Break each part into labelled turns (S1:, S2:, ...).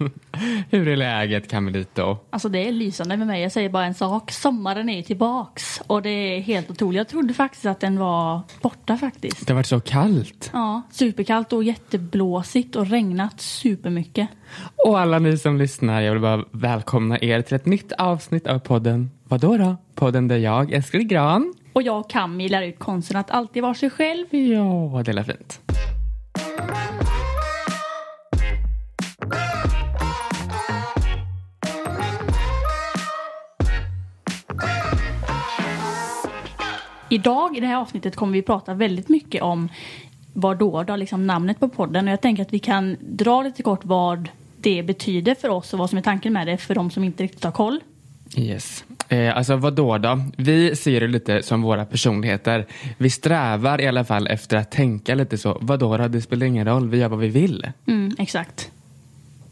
S1: Hur är läget Camelito?
S2: Alltså det är lysande med mig. Jag säger bara en sak. Sommaren är tillbaks och det är helt otroligt. Jag trodde faktiskt att den var borta faktiskt.
S1: Det har varit så kallt.
S2: Ja, superkallt och jätteblåsigt och regnat supermycket.
S1: Och alla ni som lyssnar, jag vill bara välkomna er till ett nytt avsnitt av podden Vadå då? Podden där jag, Eskil Gran.
S2: Och jag och Cammy lär ut konsten att alltid vara sig själv.
S1: Ja, det är fint.
S2: Idag i det här avsnittet kommer vi prata väldigt mycket om vad då, då liksom namnet på podden. Och jag tänker att vi kan dra lite kort vad det betyder för oss och vad som är tanken med det för de som inte riktigt har koll.
S1: Yes. Eh, alltså vad då då? Vi ser det lite som våra personligheter. Vi strävar i alla fall efter att tänka lite så. Vad då då? Det spelar ingen roll. Vi gör vad vi vill.
S2: Mm, exakt.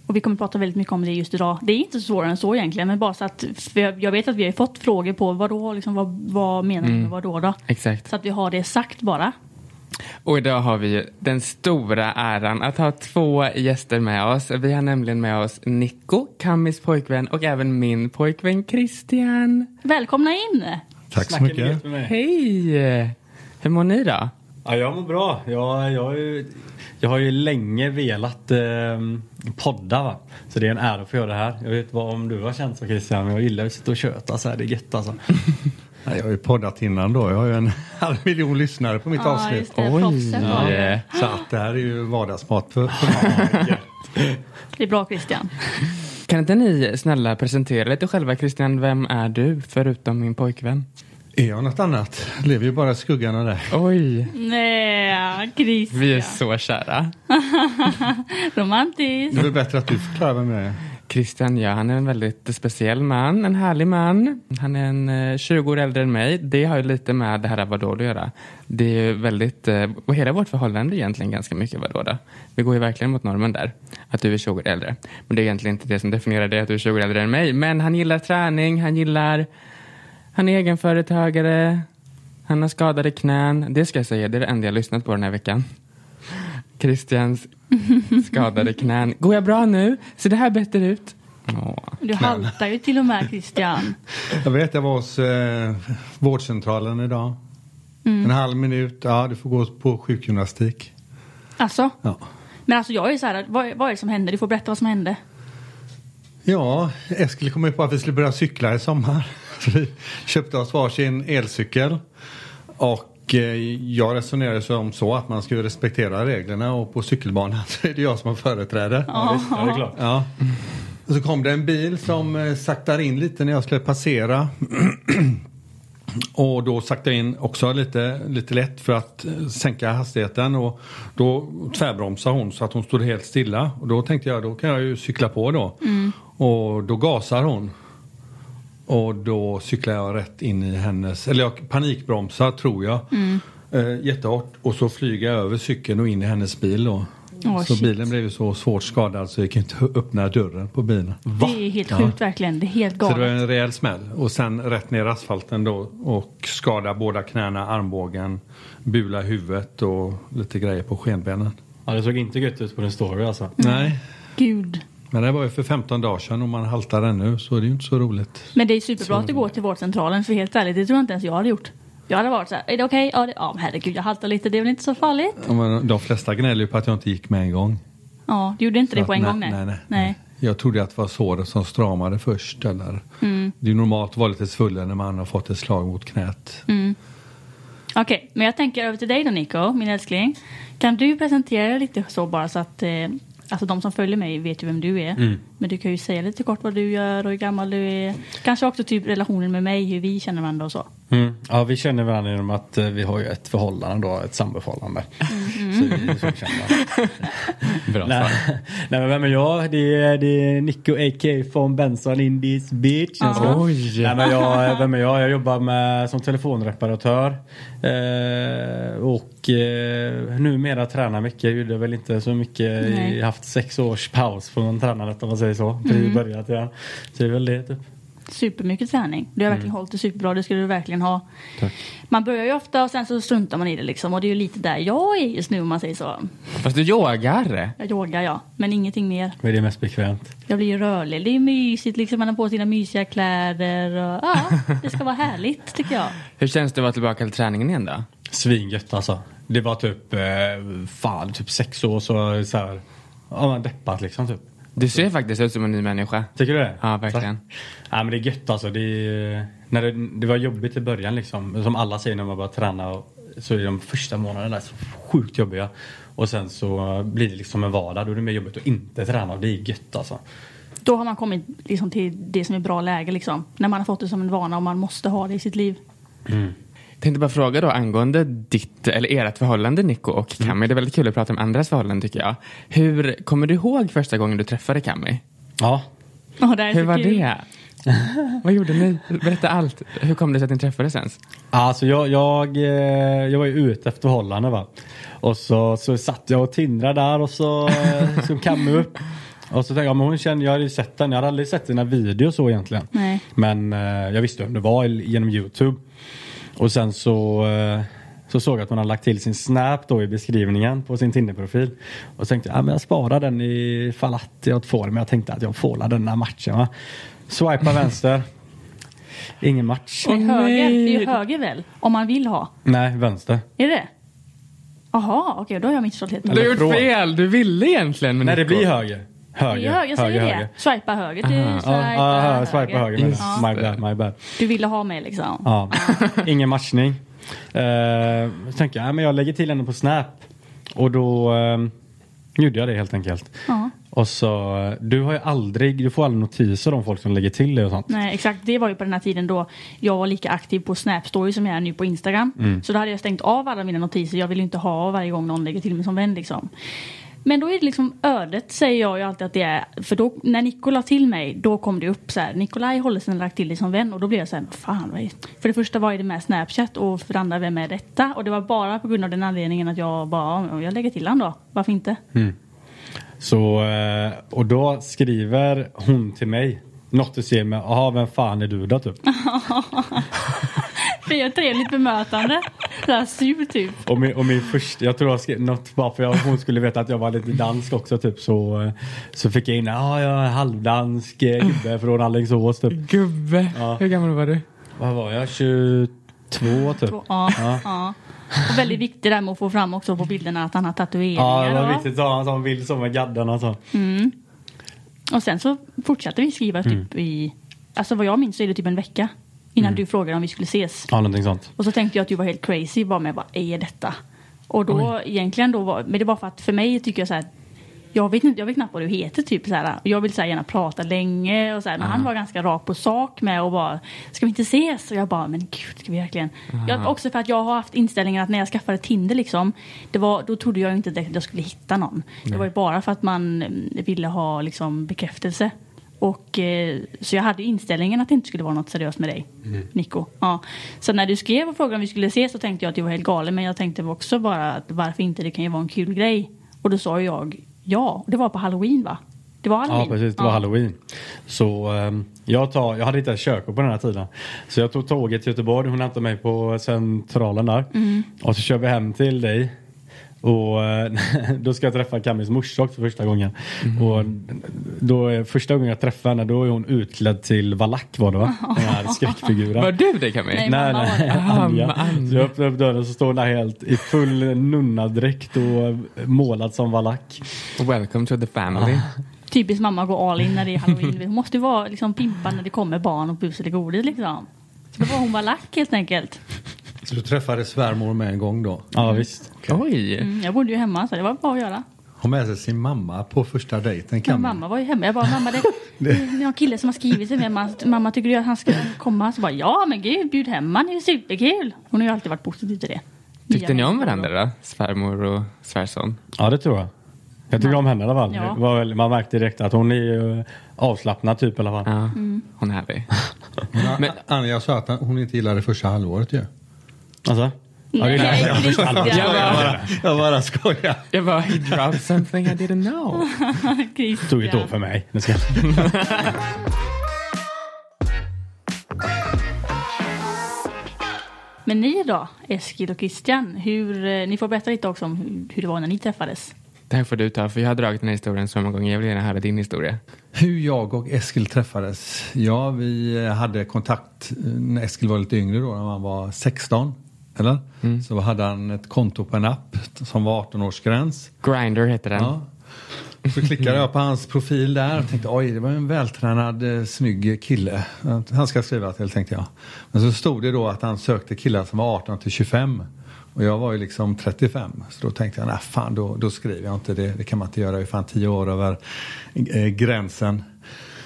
S2: Och vi kommer prata väldigt mycket om det just idag. Det är inte så svårare än så egentligen, men bara så att för jag jag vet att vi har ju fått frågor på vad då, liksom, vad, vad menar du med vad då? då?
S1: Exakt.
S2: Så att vi har det sagt bara.
S1: Och idag har vi ju den stora äran att ha två gäster med oss. Vi har nämligen med oss Nico, Kammis pojkvän och även min pojkvän Christian.
S2: Välkomna in!
S3: Tack så mycket.
S1: Hej! Hur mår ni då?
S3: Ja, jag mår bra. Jag, jag, har ju, jag har ju länge velat eh, podda. Va? Så det är en ära att få göra det här. Jag vet inte vad om du har känt så Christian, men jag gillar att sitta och köta så här. Det är gött alltså.
S4: Ja, Jag har ju poddat innan då. Jag har ju en halv miljon lyssnare på mitt
S2: Ja,
S4: avsnitt.
S2: just det. Proffset var det.
S1: Eh,
S4: Så att det här är ju vardagsmat för, för
S2: Det är bra Christian.
S1: Kan inte ni snälla presentera lite själva Christian, vem är du förutom min pojkvän?
S4: Är jag något annat? Lever ju bara i skuggan av det.
S1: Oj,
S2: Nej, Christian.
S1: vi är så kära.
S4: Det
S2: Romantiskt.
S4: är väl bättre att du förklarar vem jag är.
S1: Christian, ja, han är en väldigt speciell man, en härlig man. Han är en eh, 20 år äldre än mig. Det har ju lite med det här vadå att göra. Det är ju väldigt, eh, och hela vårt förhållande är egentligen ganska mycket vadå då. Vi går ju verkligen mot normen där, att du är 20 år äldre. Men det är egentligen inte det som definierar dig, att du är 20 år äldre än mig. Men han gillar träning, han gillar, han är egenföretagare, han har skadade knän. Det ska jag säga, det är det enda jag lyssnat på den här veckan. Christians skadade knän. Går jag bra nu? Ser det här bättre ut? Åh.
S2: Du haltar ju till och med Christian.
S4: Jag vet, jag var hos eh, vårdcentralen idag.
S3: Mm.
S4: En halv minut. Ja, du får gå på sjukgymnastik.
S2: Alltså,
S4: Ja.
S2: men alltså jag är så här, vad, vad är det som hände? Du får berätta vad som hände.
S4: Ja, Eskil kom ju på att vi skulle börja cykla i sommar. Så vi köpte oss varsin elcykel. Och eh, jag resonerade som så att man ska ju respektera reglerna och på cykelbanan så är det jag som har företräde.
S3: Ja, visst, ja, det är klart.
S4: Ja. Och så kom det en bil som eh, saktar in lite när jag skulle passera. Och då saktade jag in också lite, lite lätt för att eh, sänka hastigheten och då tvärbromsade hon så att hon stod helt stilla. Och då tänkte jag då kan jag ju cykla på då.
S2: Mm.
S4: Och då gasar hon. Och då cyklar jag rätt in i hennes, eller jag panikbromsar tror jag.
S2: Mm.
S4: Eh, jättehårt och så flyger jag över cykeln och in i hennes bil då.
S2: Åh,
S4: så
S2: shit.
S4: bilen blev ju så svårt skadad så jag kunde inte öppna dörren på bilen.
S2: Det är helt sjukt verkligen. Det är helt
S4: Så det var
S2: galet.
S4: en rejäl smäll och sen rätt ner i asfalten då och skada båda knäna, armbågen, bula huvudet och lite grejer på skenbenen.
S3: Ja, det såg inte gött ut på din story alltså.
S4: Nej,
S2: Gud.
S4: men det var ju för 15 dagar sedan och man haltar ännu så det är ju inte så roligt.
S2: Men det är superbra att du går till vårdcentralen för helt ärligt, det tror jag inte ens jag hade gjort. Jag hade varit så här, är det okej? Ja, det, ja, men herregud jag haltar lite, det är väl inte så farligt?
S4: Ja, men De flesta gnäller ju på att jag inte gick med en gång.
S2: Ja, du gjorde inte det
S4: Att
S2: på en
S4: nej,
S2: gång nej.
S4: Nej, nej, nej. Jag trodde att det var såret som stramade först. Eller.
S2: Mm.
S4: Det är normalt att vara lite svullen när man har fått ett slag mot knät.
S2: Okej, men jag tänker över till dig då Nico, min älskling. Kan du presentera dig lite så bara så att eh, Alltså de som följer mig vet ju vem du är.
S4: Mm.
S2: Men du kan ju säga lite kort vad du gör och hur gammal du är. Kanske också typ relationen med mig, hur vi känner varandra och så.
S3: Mm. Ja, vi känner varandra genom att eh, vi har ju ett förhållande då, ett samboförhållande. i solkända.
S5: Bra
S3: Nej,
S5: svar.
S3: nej men vem är jag? Det är, det är Nico a.k. från Benson in this bitch. Jag ska-
S1: Oj.
S3: Alltså. Nej, men jag, eh, vem är jag? Jag jobbar med, som telefonreparatör. Eh, och eh, numera tränar mycket. Jag gjorde väl inte så mycket.
S2: Nej.
S3: Jag har haft sex års paus från tränandet om man säger så. Precis börjat igen. Så det är väl det typ.
S2: Supermycket träning. Du har
S1: Mm.
S2: verkligen hållit det superbra, det ska du verkligen ha. Man börjar ju ofta och sen så struntar man i det liksom. Och det är ju lite där jag är just nu om man säger så.
S1: Fast du yogar?
S2: Jag yogar ja, men ingenting mer.
S3: Men det är mest bekvämt.
S2: Jag blir ju rörlig. Det är mysigt liksom, man har på sina mysiga kläder. Och, ja, det ska vara härligt tycker jag.
S1: Hur känns det att vara tillbaka till träningen igen då?
S3: Svingött alltså. Det var typ, eh, fan, typ sex år så, så här, ja man deppat liksom typ.
S1: Du ser faktiskt ut som en ny människa.
S3: Tycker du det?
S1: Ja, verkligen.
S3: Tack. Ja, men det är gött alltså. Det, är, när det, det var jobbigt i början liksom. Som alla säger när man börjar träna. Och, så är de första månaderna där så sjukt jobbiga. Och sen så blir det liksom en vardag. Då är det mer jobbigt att inte träna och det är gött alltså.
S2: Då har man kommit liksom, till det som är bra läge liksom. När man har fått det som en vana och man måste ha det i sitt liv.
S1: Tänkte bara fråga då angående ditt, eller ert förhållande Nico och Cammy. Det är väldigt kul att prata om andras förhållanden tycker jag. Hur kommer du ihåg första gången du träffade Cammy?
S3: Ja.
S2: Och det här är
S1: Hur
S2: så
S1: var
S2: kul.
S1: det? Vad gjorde ni? Berätta allt. Hur kom det sig att ni träffades ens?
S3: Alltså jag, jag, eh, jag var ju ute efter förhållande va. Och så, så satt jag och tindrade där och så, eh, så kam jag upp. Och så tänkte jag, men hon kände, jag hade ju sett henne. Jag hade aldrig sett dina videos så egentligen.
S2: Nej.
S3: Men eh, jag visste vem det var genom Youtube. Och sen så, eh, så såg jag att man hade lagt till sin Snap då i beskrivningen på sin Tinder-profil. Och så tänkte jag, ah, men jag sparar den ifall att jag får den. Men jag tänkte att jag får la den här matchen va. Swipa vänster. Ingen match.
S2: Nej, höger. Det är ju höger väl? Om man vill ha.
S3: Nej, vänster.
S2: Är det? Jaha, okej, då har jag missförstått helt.
S1: Du har
S2: Det
S1: gjort fel! Du ville egentligen med
S3: Nej, det
S1: Nico.
S3: blir höger.
S2: är
S3: Höger,
S2: höger, jag säger det. Swipa höger. Du
S3: Ja, ja, ja, swipa
S2: swipar
S3: höger. menar
S2: Ja.
S3: jag. My bad, my bad.
S2: Du ville ha mig liksom.
S3: Ja. Ingen matchning. Eh, så tänkte jag, nej, men jag lägger till henne på Snap. Och då eh, gjorde jag det helt enkelt.
S2: Ja.
S3: Och så, eh, du har ju aldrig, du får aldrig notiser om folk som lägger till dig och sånt.
S2: Nej, exakt. Det var ju på den här tiden då jag var lika aktiv på Snap Story som jag är nu på Instagram.
S3: Mm.
S2: Så då hade jag stängt av alla mina notiser. Jag vill ju inte ha varje gång någon lägger till mig som vän liksom. Men då är det liksom ödet säger jag ju alltid att det är. För då, när Nico la till mig, då kom det upp så här. Nikolaj Hollesen lagt till dig som vän och då blev jag så här, fan vad är det? För det första, vad är det med Snapchat och för det andra, vem är detta? Och det var bara på grund av den anledningen att jag bara, "Ja, jag lägger till han då. Varför inte?
S3: Så, eh, och då skriver hon till mig något du ser med, jaha vem fan är du då typ?
S2: För jag är trevligt bemötande. Så här sur typ.
S3: Och min, och min första, jag tror jag skrev något bara för att hon skulle veta att jag var lite dansk också typ så, eh, så fick jag in, ja jag är halvdansk eh, gubbe från Alingsås typ.
S1: Gubbe,
S3: Ja.
S1: hur gammal var du?
S3: Vad var jag? 22 typ.
S2: Ja, ja. Och väldigt viktigt det där med att få fram också på bilderna att han har
S3: Ja,
S2: tatueringar.
S3: det var
S2: va?
S3: viktigt att ha en sån bild som med gaddarna så.
S2: Och sen så fortsatte vi skriva typ
S3: Mm.
S2: i, alltså vad jag minns så är det typ en vecka innan du frågade om vi skulle ses.
S3: Ja, någonting sånt.
S2: Och så tänkte jag att du var helt crazy bara med vad är detta? Och då egentligen då var, men det var för att för mig tycker jag så här jag vet, inte, jag vet knappt vad du heter typ så här. Och Jag vill så här, gärna prata länge och så här, men han var ganska rak på sak med och bara ska vi inte ses? Och jag bara men gud ska vi verkligen? Jag, också för att jag har haft inställningen att när jag skaffade Tinder liksom det var, då trodde jag ju inte direkt att jag skulle hitta någon. Det var ju bara för att man mm, ville ha liksom bekräftelse. Och, eh, så jag hade ju inställningen att det inte skulle vara något seriöst med dig,
S3: Mm.
S2: Nico. Ja. Så när du skrev och frågade om vi skulle ses så tänkte jag att du var helt galen. Men jag tänkte också bara att varför inte, det kan ju vara en kul grej. Och då sa ju jag ja. Och det var på halloween va? Det var halloween?
S3: Ja, precis. Det var halloween. Så ehm, jag, tar, jag hade inte ens körkort på den här tiden. Så jag tog tåget till Göteborg. Hon hämtade mig på centralen där. Och så kör vi hem till dig. Och eh, då ska jag träffa Camis morsa också för första gången. Och då, är- första gången jag träffar henne då är hon utklädd till valack var det va? Den här skräckfiguren.
S1: Var du det Cammy?
S2: Nej.
S3: Nej,
S2: mamma var
S3: nej,
S2: det.
S3: Anja.
S1: Ah, Anja.
S3: Så jag öppnade upp dörren och så står hon där helt i full nunnadräkt och målad som valack.
S1: Welcome to the family.
S4: Ah,
S2: Typiskt mamma går all in när det är halloween. Hon måste ju vara liksom pimpa när det kommer barn och bus eller godis liksom. Så då var hon valack helt enkelt.
S4: Så du träffade svärmor med en gång då?
S3: Ja visst.
S1: Oj!
S2: Mm, jag bodde ju hemma så det var bara att göra.
S4: Har med sig sin mamma på första dejten.
S2: Men
S4: Kan man?
S2: mamma var ju hemma. Jag bara, mamma det, det är någon kille som har skrivit till mig. Mamma, mamma tycker du att han ska komma? Så bara, ja men gud bjud hem han, det är ju superkul. Hon har ju alltid varit positiv till det.
S1: Tyckte ni om varandra då? Svärmor och svärson?
S3: Ja, det tror jag. Jag tycker om henne i alla fall.
S2: Ja.
S3: Det var väl- Man märkte direkt att hon är ju avslappnad typ i alla fall.
S1: Ja, hon är härlig.
S4: Men, Anja sa att hon inte gillade första halvåret ju.
S3: Alltså? Ja, det
S2: Nej,
S3: är därför.
S2: Christian.
S4: Jag bara, jag bara skojar.
S1: Jag bara, he dropped something I didn't know.
S2: Christian.
S3: Tog ett år för mig. Nu ska jag-
S2: Men ni då, Eskil och Christian, hur, eh, ni får berätta lite också om hur, hur det var när ni träffades.
S1: Det här får du ta, för jag har dragit den här historien så många gånger. Jag vill gärna höra din historia.
S4: Hur jag och Eskil träffades? Ja, vi eh, hade kontakt eh, när Eskil var lite yngre då, när han var 16. Eller? Så hade han ett konto på en app som var 18-årsgräns.
S1: Grinder heter den.
S4: Ja. Så klickade jag på hans profil där och tänkte oj, det var en vältränad, eh, snygg kille. Att Han ska skriva till, tänkte jag. Men så stod det då att han sökte killar som var 18 till 25. Och jag var ju liksom 35. Så då tänkte jag, nej fan, då, då skriver jag inte det. Det kan man inte göra. Jag är fan 10 år över eh, gränsen.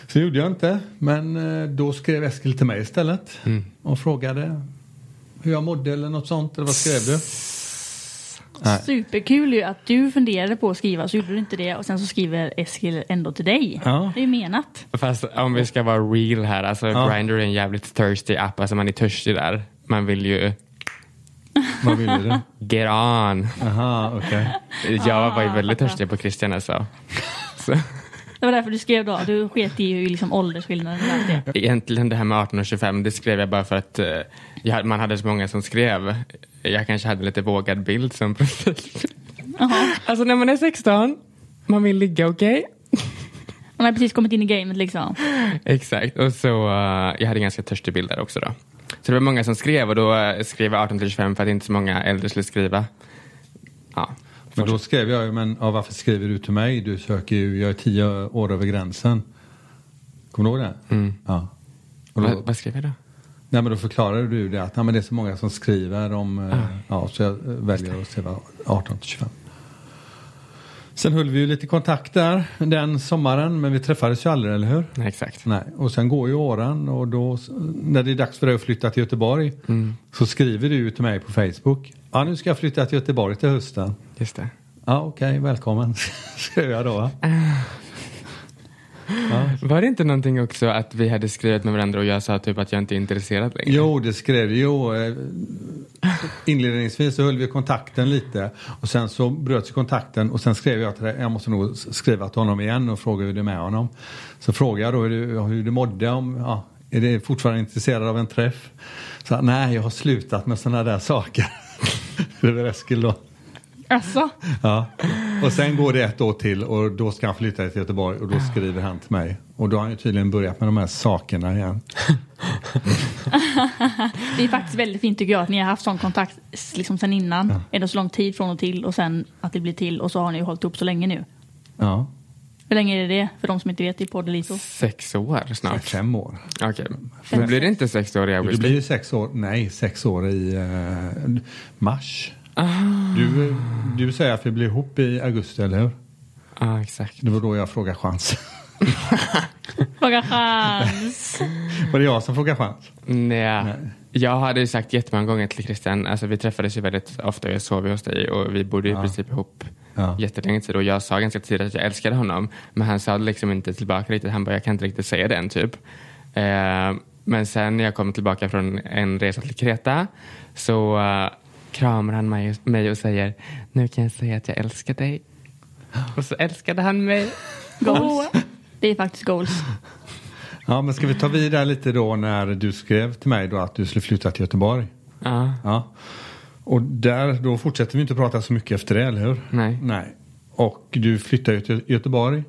S4: Så det gjorde jag inte. Men eh, då skrev Eskil till mig istället. Och frågade hur jag mådde eller något sånt. Eller vad skrev du? Nej.
S2: Superkul ju att du funderade på att skriva så gjorde du inte det och sen så skriver Eskil ändå till dig.
S4: Ja.
S2: Det är ju menat.
S1: Fast om vi ska vara real här, alltså
S4: Ja.
S1: Grindr är en jävligt thirsty app. Alltså man är törstig där. Man vill ju
S4: Vad ville du?
S1: get on.
S4: Ah, Aha, okej.
S1: Jag var ju väldigt törstig på Christian alltså. Så.
S2: Det var därför du skrev då, du sket i ju liksom åldersskillnaden och allt det.
S1: Egentligen det här med 18 och 25, det skrev jag bara för att eh, jag, man hade så många som skrev. Jag kanske hade lite vågad bild som profil. Alltså när man är 16, man vill ligga, okej?
S2: Man har precis kommit in i gamet liksom.
S1: Exakt, och så eh, jag hade en ganska törstig bild där också då. Så det var många som skrev och då eh, skrev jag 18 till 25 för att inte så många äldre skulle skriva. Ja,
S4: Men då skrev jag ju, men ja, varför skriver du till mig? Du söker ju, jag är tio år över gränsen. Kommer du ihåg det? Ja. Och då,
S1: vad, vad skrev jag då?
S4: nej, men då förklarade du det att nej, men det är så många som skriver om, eh, ja, så jag eh, väljer att skriva 18 till 25. Sen höll vi ju lite kontakt där den sommaren, men vi träffades ju aldrig, eller hur?
S1: Nej, exakt.
S4: Nej, och sen går ju åren och då när det är dags för dig att flytta till Göteborg så skriver du till mig på Facebook. Ja, nu ska jag flytta till Göteborg till hösten.
S1: Just det.
S4: Ja, okej, välkommen. Skrev jag då. va?
S1: Var det inte någonting också att vi hade skrivit med varandra och jag sa typ att jag inte är intresserad längre?
S4: Jo, det skrev du. Jo, eh, inledningsvis så höll vi kontakten lite och sen så bröts kontakten och sen skrev jag till dig, jag måste nog s- skriva till honom igen och fråga hur det är med honom. Så frågade jag då hur du, hur du mådde, om, ja, är du fortfarande intresserad av en träff? Så, han, nej, jag har slutat med sådana där saker. det var Eskil då.
S2: Alltså,
S4: Ja. Och sen går det ett år till och då ska han flytta till Göteborg och då skriver han till mig. Och då har han ju tydligen börjat med de här sakerna igen.
S2: det är faktiskt väldigt fint tycker jag att ni har haft sån kontakt s- liksom sen innan. Ändå så lång tid från och till och sen att det blir till och så har ni ju hållit ihop så länge nu.
S4: Ja,
S2: Hur länge är det för de som inte vet i Poddelito?
S1: Sex år snart.
S4: fem år.
S1: Okej. Men blir det inte sex år i
S4: Det
S1: augusti?
S4: blir ju sex år, nej, sex år i eh, mars. Du, du säger att vi blir ihop i augusti, eller hur?
S1: Ja, exakt.
S4: Det var då jag frågade chans.
S2: Fråga chans!
S4: Var det jag som frågade chans?
S1: Nej.
S4: Nej.
S1: Jag hade ju sagt jättemånga gånger till Christian, alltså vi träffades ju väldigt ofta och jag sov ju hos dig och vi bodde i princip ihop
S4: Ja.
S1: jättelänge tid och jag sa ganska tidigt att jag älskade honom men han sa det liksom inte tillbaka riktigt, han bara jag kan inte riktigt säga det än typ. Eh, men sen när jag kom tillbaka från en resa till Kreta så eh, kramar han mig, mig och säger nu kan jag säga att jag älskar dig. Och så älskade han mig.
S2: Goals. Det är faktiskt goals.
S4: Ja, men ska vi ta vidare lite då när du skrev till mig då att du skulle flytta till Göteborg?
S1: Ja.
S4: Ja. Och där, då fortsätter vi inte prata så mycket efter det, eller hur?
S1: Nej.
S4: Nej. Och du flyttar ju till Göteborg.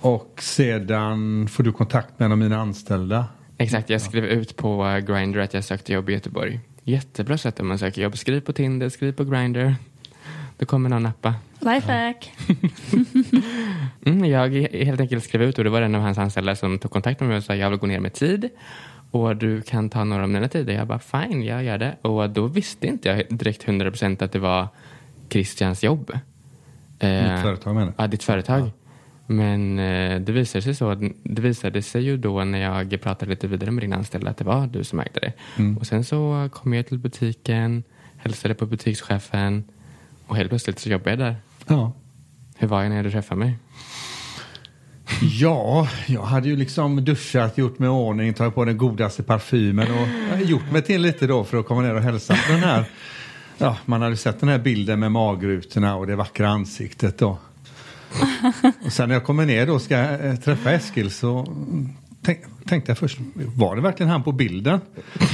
S4: Och sedan får du kontakt med en av mina anställda.
S1: Exakt, jag skrev ut på eh, Grindr att jag sökte jobb i Göteborg. Jättebra sätt om man söker jobb. Skriv på Tinder, skriv på Grindr. Då kommer någon nappa.
S2: Lifehack!
S1: Mm, jag helt enkelt skrev ut och det var en av hans anställda som tog kontakt med mig och sa jag vill gå ner med tid och du kan ta några av mina tider. Jag bara fine, jag gör det. Och då visste inte jag direkt 100% att det var Christians jobb. Eh,
S4: Mitt företag menar du?
S1: Ja, ditt företag. Men eh, det visade, sig så, det visade sig ju då när jag
S4: Mm.
S1: pratade lite vidare med din anställda att det var du som ägde det. Och sen så kom jag till butiken, hälsade på butikschefen och helt plötsligt så jobbar jag där.
S4: Ja.
S1: Hur var jag när du träffade mig?
S4: Ja, jag hade ju liksom duschat, gjort mig i ordning, tagit på den godaste parfymen och eh, gjort mig till lite då för att komma ner och hälsa på den här. Ja, man hade sett den här bilden med magrutorna och det vackra ansiktet då. Och sen när jag kommer ner då och ska eh, träffa Eskil så mm, tänk, tänkte jag först, var det verkligen han på bilden?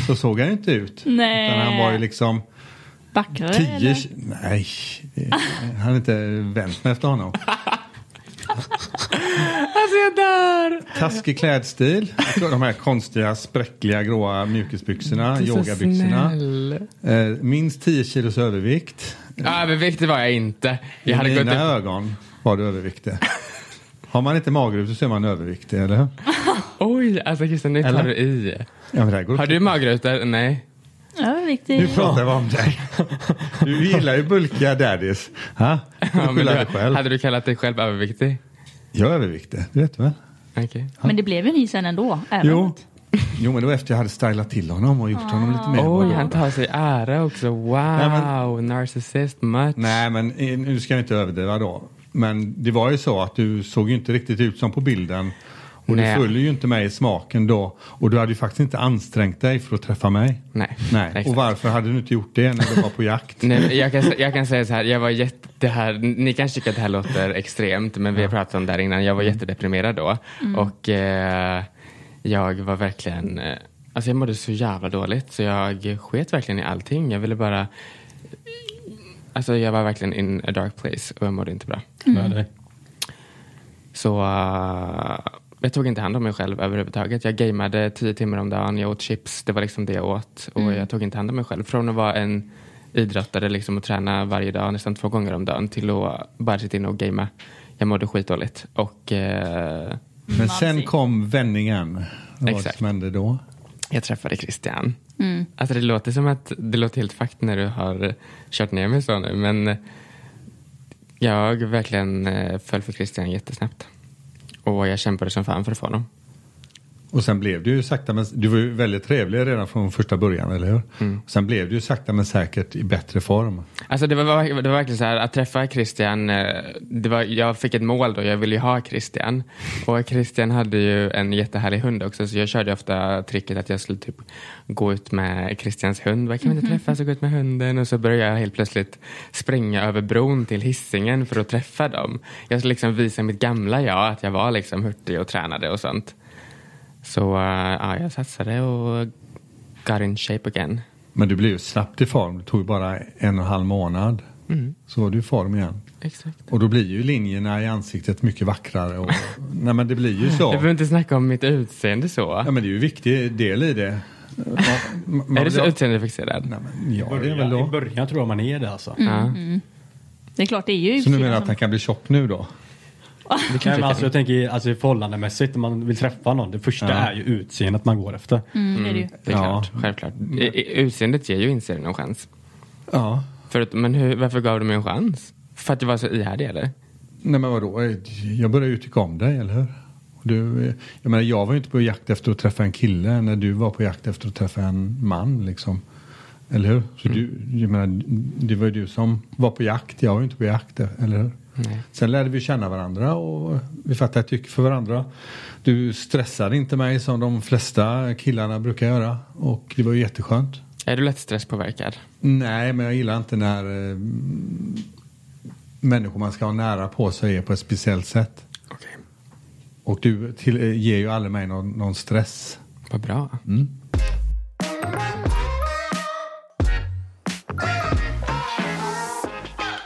S4: Så såg han ju inte ut.
S2: Nej.
S4: Utan han var ju liksom
S2: Backrare
S4: tio...
S2: eller?
S4: Nej, eh, jag hade inte vänt mig efter honom.
S1: Alltså jag dör!
S4: Taskig klädstil. Jag tror De här konstiga spräckliga gråa mjukisbyxorna,
S1: Du är så
S4: yogabyxorna.
S1: snäll.
S4: Eh, minst 10 kilos övervikt.
S1: Ja, överviktig var jag inte. Jag hade
S4: I
S1: gått
S4: mina
S1: upp.
S4: ögon var du överviktig. Har man inte magrutor så är man överviktig, eller hur?
S1: Oj, alltså Christian, nu tar
S4: Eller?
S1: du i.
S4: Ja, men det här går
S1: Har du magrutor? Nej.
S2: Ja,
S4: Nu
S2: riktigt.
S4: pratar vi om dig. Du gillar ju bulkiga daddies. Ha? Du får
S1: Ja, men
S4: skylla dig
S1: du,
S4: själv.
S1: hade du kallat dig själv överviktig?
S4: Jag är överviktig, det vet du väl?
S1: Okej.
S2: Men det blev ju ni sen ändå. Även.
S4: Jo. Jo, men det var efter jag hade stylat till honom och gjort honom lite mer
S1: Oj,
S4: vad jag
S1: han tar sig ära också. Wow,
S4: Nej,
S1: narcissist much.
S4: Nej, men eh, nu ska jag inte överdriva då. Men det var ju så att du såg ju inte riktigt ut som på bilden. Och
S1: Nej.
S4: du följer ju inte med i smaken då. Och du hade ju faktiskt inte ansträngt dig för att träffa mig.
S1: Nej.
S4: Nej.
S1: Exakt.
S4: Och varför hade du inte gjort det när du var på jakt?
S1: Nej, men jag, kan, sä- jag kan säga så här, jag var jätte, det här, ni kanske tycker att det här låter extremt, men vi har pratat om det här innan. Jag var jättedeprimerad då och eh, jag var verkligen, eh, alltså jag mådde så jävla dåligt så jag sket verkligen i allting. Jag ville bara, alltså jag var verkligen in a dark place och jag mådde inte bra.
S3: Med dig.
S1: Så eh, jag tog inte hand om mig själv överhuvudtaget. Jag gameade tio timmar om dagen, jag åt chips, det var liksom det jag åt. Och jag tog inte hand om mig själv. Från att vara en idrottare liksom, och träna varje dag, nästan två gånger om dagen, till att bara sitta inne och gamea. Jag mådde skitdåligt. Och eh,
S4: Men sen
S2: Mamsi.
S4: kom vändningen. Vad var det
S1: Exakt.
S4: som hände då?
S1: jag träffade Christian.
S2: Mm.
S1: Alltså det låter som att det låter helt fakt när du har kört ner mig så nu, men jag verkligen eh, föll för Christian jättesnabbt. Och jag kämpade som fan för att få honom.
S4: Och sen blev du ju sakta men du var ju väldigt trevlig redan från första början, eller hur?
S1: Mm.
S4: Och sen blev du ju sakta men säkert i bättre form.
S1: Alltså det var, verk- det var verkligen så här, att träffa Christian, eh, det var, jag fick ett mål då, jag ville ju ha Christian. Och Christian hade ju en jättehärlig hund också, så jag körde ofta tricket att jag skulle typ gå ut med Christians hund. Bara, kan vi inte träffas och gå ut med hunden? Och så började jag helt plötsligt springa över bron till hissingen för att träffa dem. Jag skulle liksom visa mitt gamla jag, att jag var liksom hurtig och tränade och sånt. Så eh, ja, jag satsade och got in shape again.
S4: Men du blev ju snabbt i form. Det tog ju bara en och en halv månad. Så var du i form igen.
S1: Exakt.
S4: Och då blir ju linjerna i ansiktet mycket vackrare. Och, nej men det blir ju
S1: Jag
S4: så.
S1: behöver inte snacka om mitt utseende så.
S4: Ja men det är ju en viktig del i det. Man, man-
S1: är du så
S4: ja,
S1: utseendefixerad?
S4: nej, men, ja det är väl
S3: I
S4: då.
S3: början tror jag man är det alltså.
S1: Ja.
S2: Det är klart, det är ju
S4: Så nu menar
S2: utsidan
S4: jag att han
S2: som-
S4: kan bli tjock nu då?
S3: Nej, men alltså, jag tänker i- alltså, i förhållandemässigt när man vill träffa någon. Det första
S4: Ja.
S3: är ju utseendet man går efter.
S2: Mm, det är det ju.
S1: Det är
S4: Ja.
S1: klart, självklart. I, i, utseendet ger ju inte någon chans.
S4: Ja.
S1: Förut, men hur, varför gav du mig en chans? För att jag var så ihärdig eller?
S4: Nej men vadå? Jag började ju tycka om dig, eller hur? Och Du, eh, jag menar jag var ju inte på jakt efter att träffa en kille när du var på jakt efter att träffa en man liksom. Eller hur? Så du, jag menar, det var ju du som var på jakt, jag var ju inte på jakt, eller hur? Sen lärde vi känna varandra och vi fattade ett tycke för varandra. Du stressade inte mig som de flesta killarna brukar göra och det var ju jätteskönt.
S1: Är du lätt stresspåverkad?
S4: Nej, men jag gillar inte när eh, m- människor man ska ha nära på sig är på ett speciellt sätt.
S1: Okej.
S4: Och du till, eh, ger ju aldrig mig någon, någon stress.
S1: Vad bra.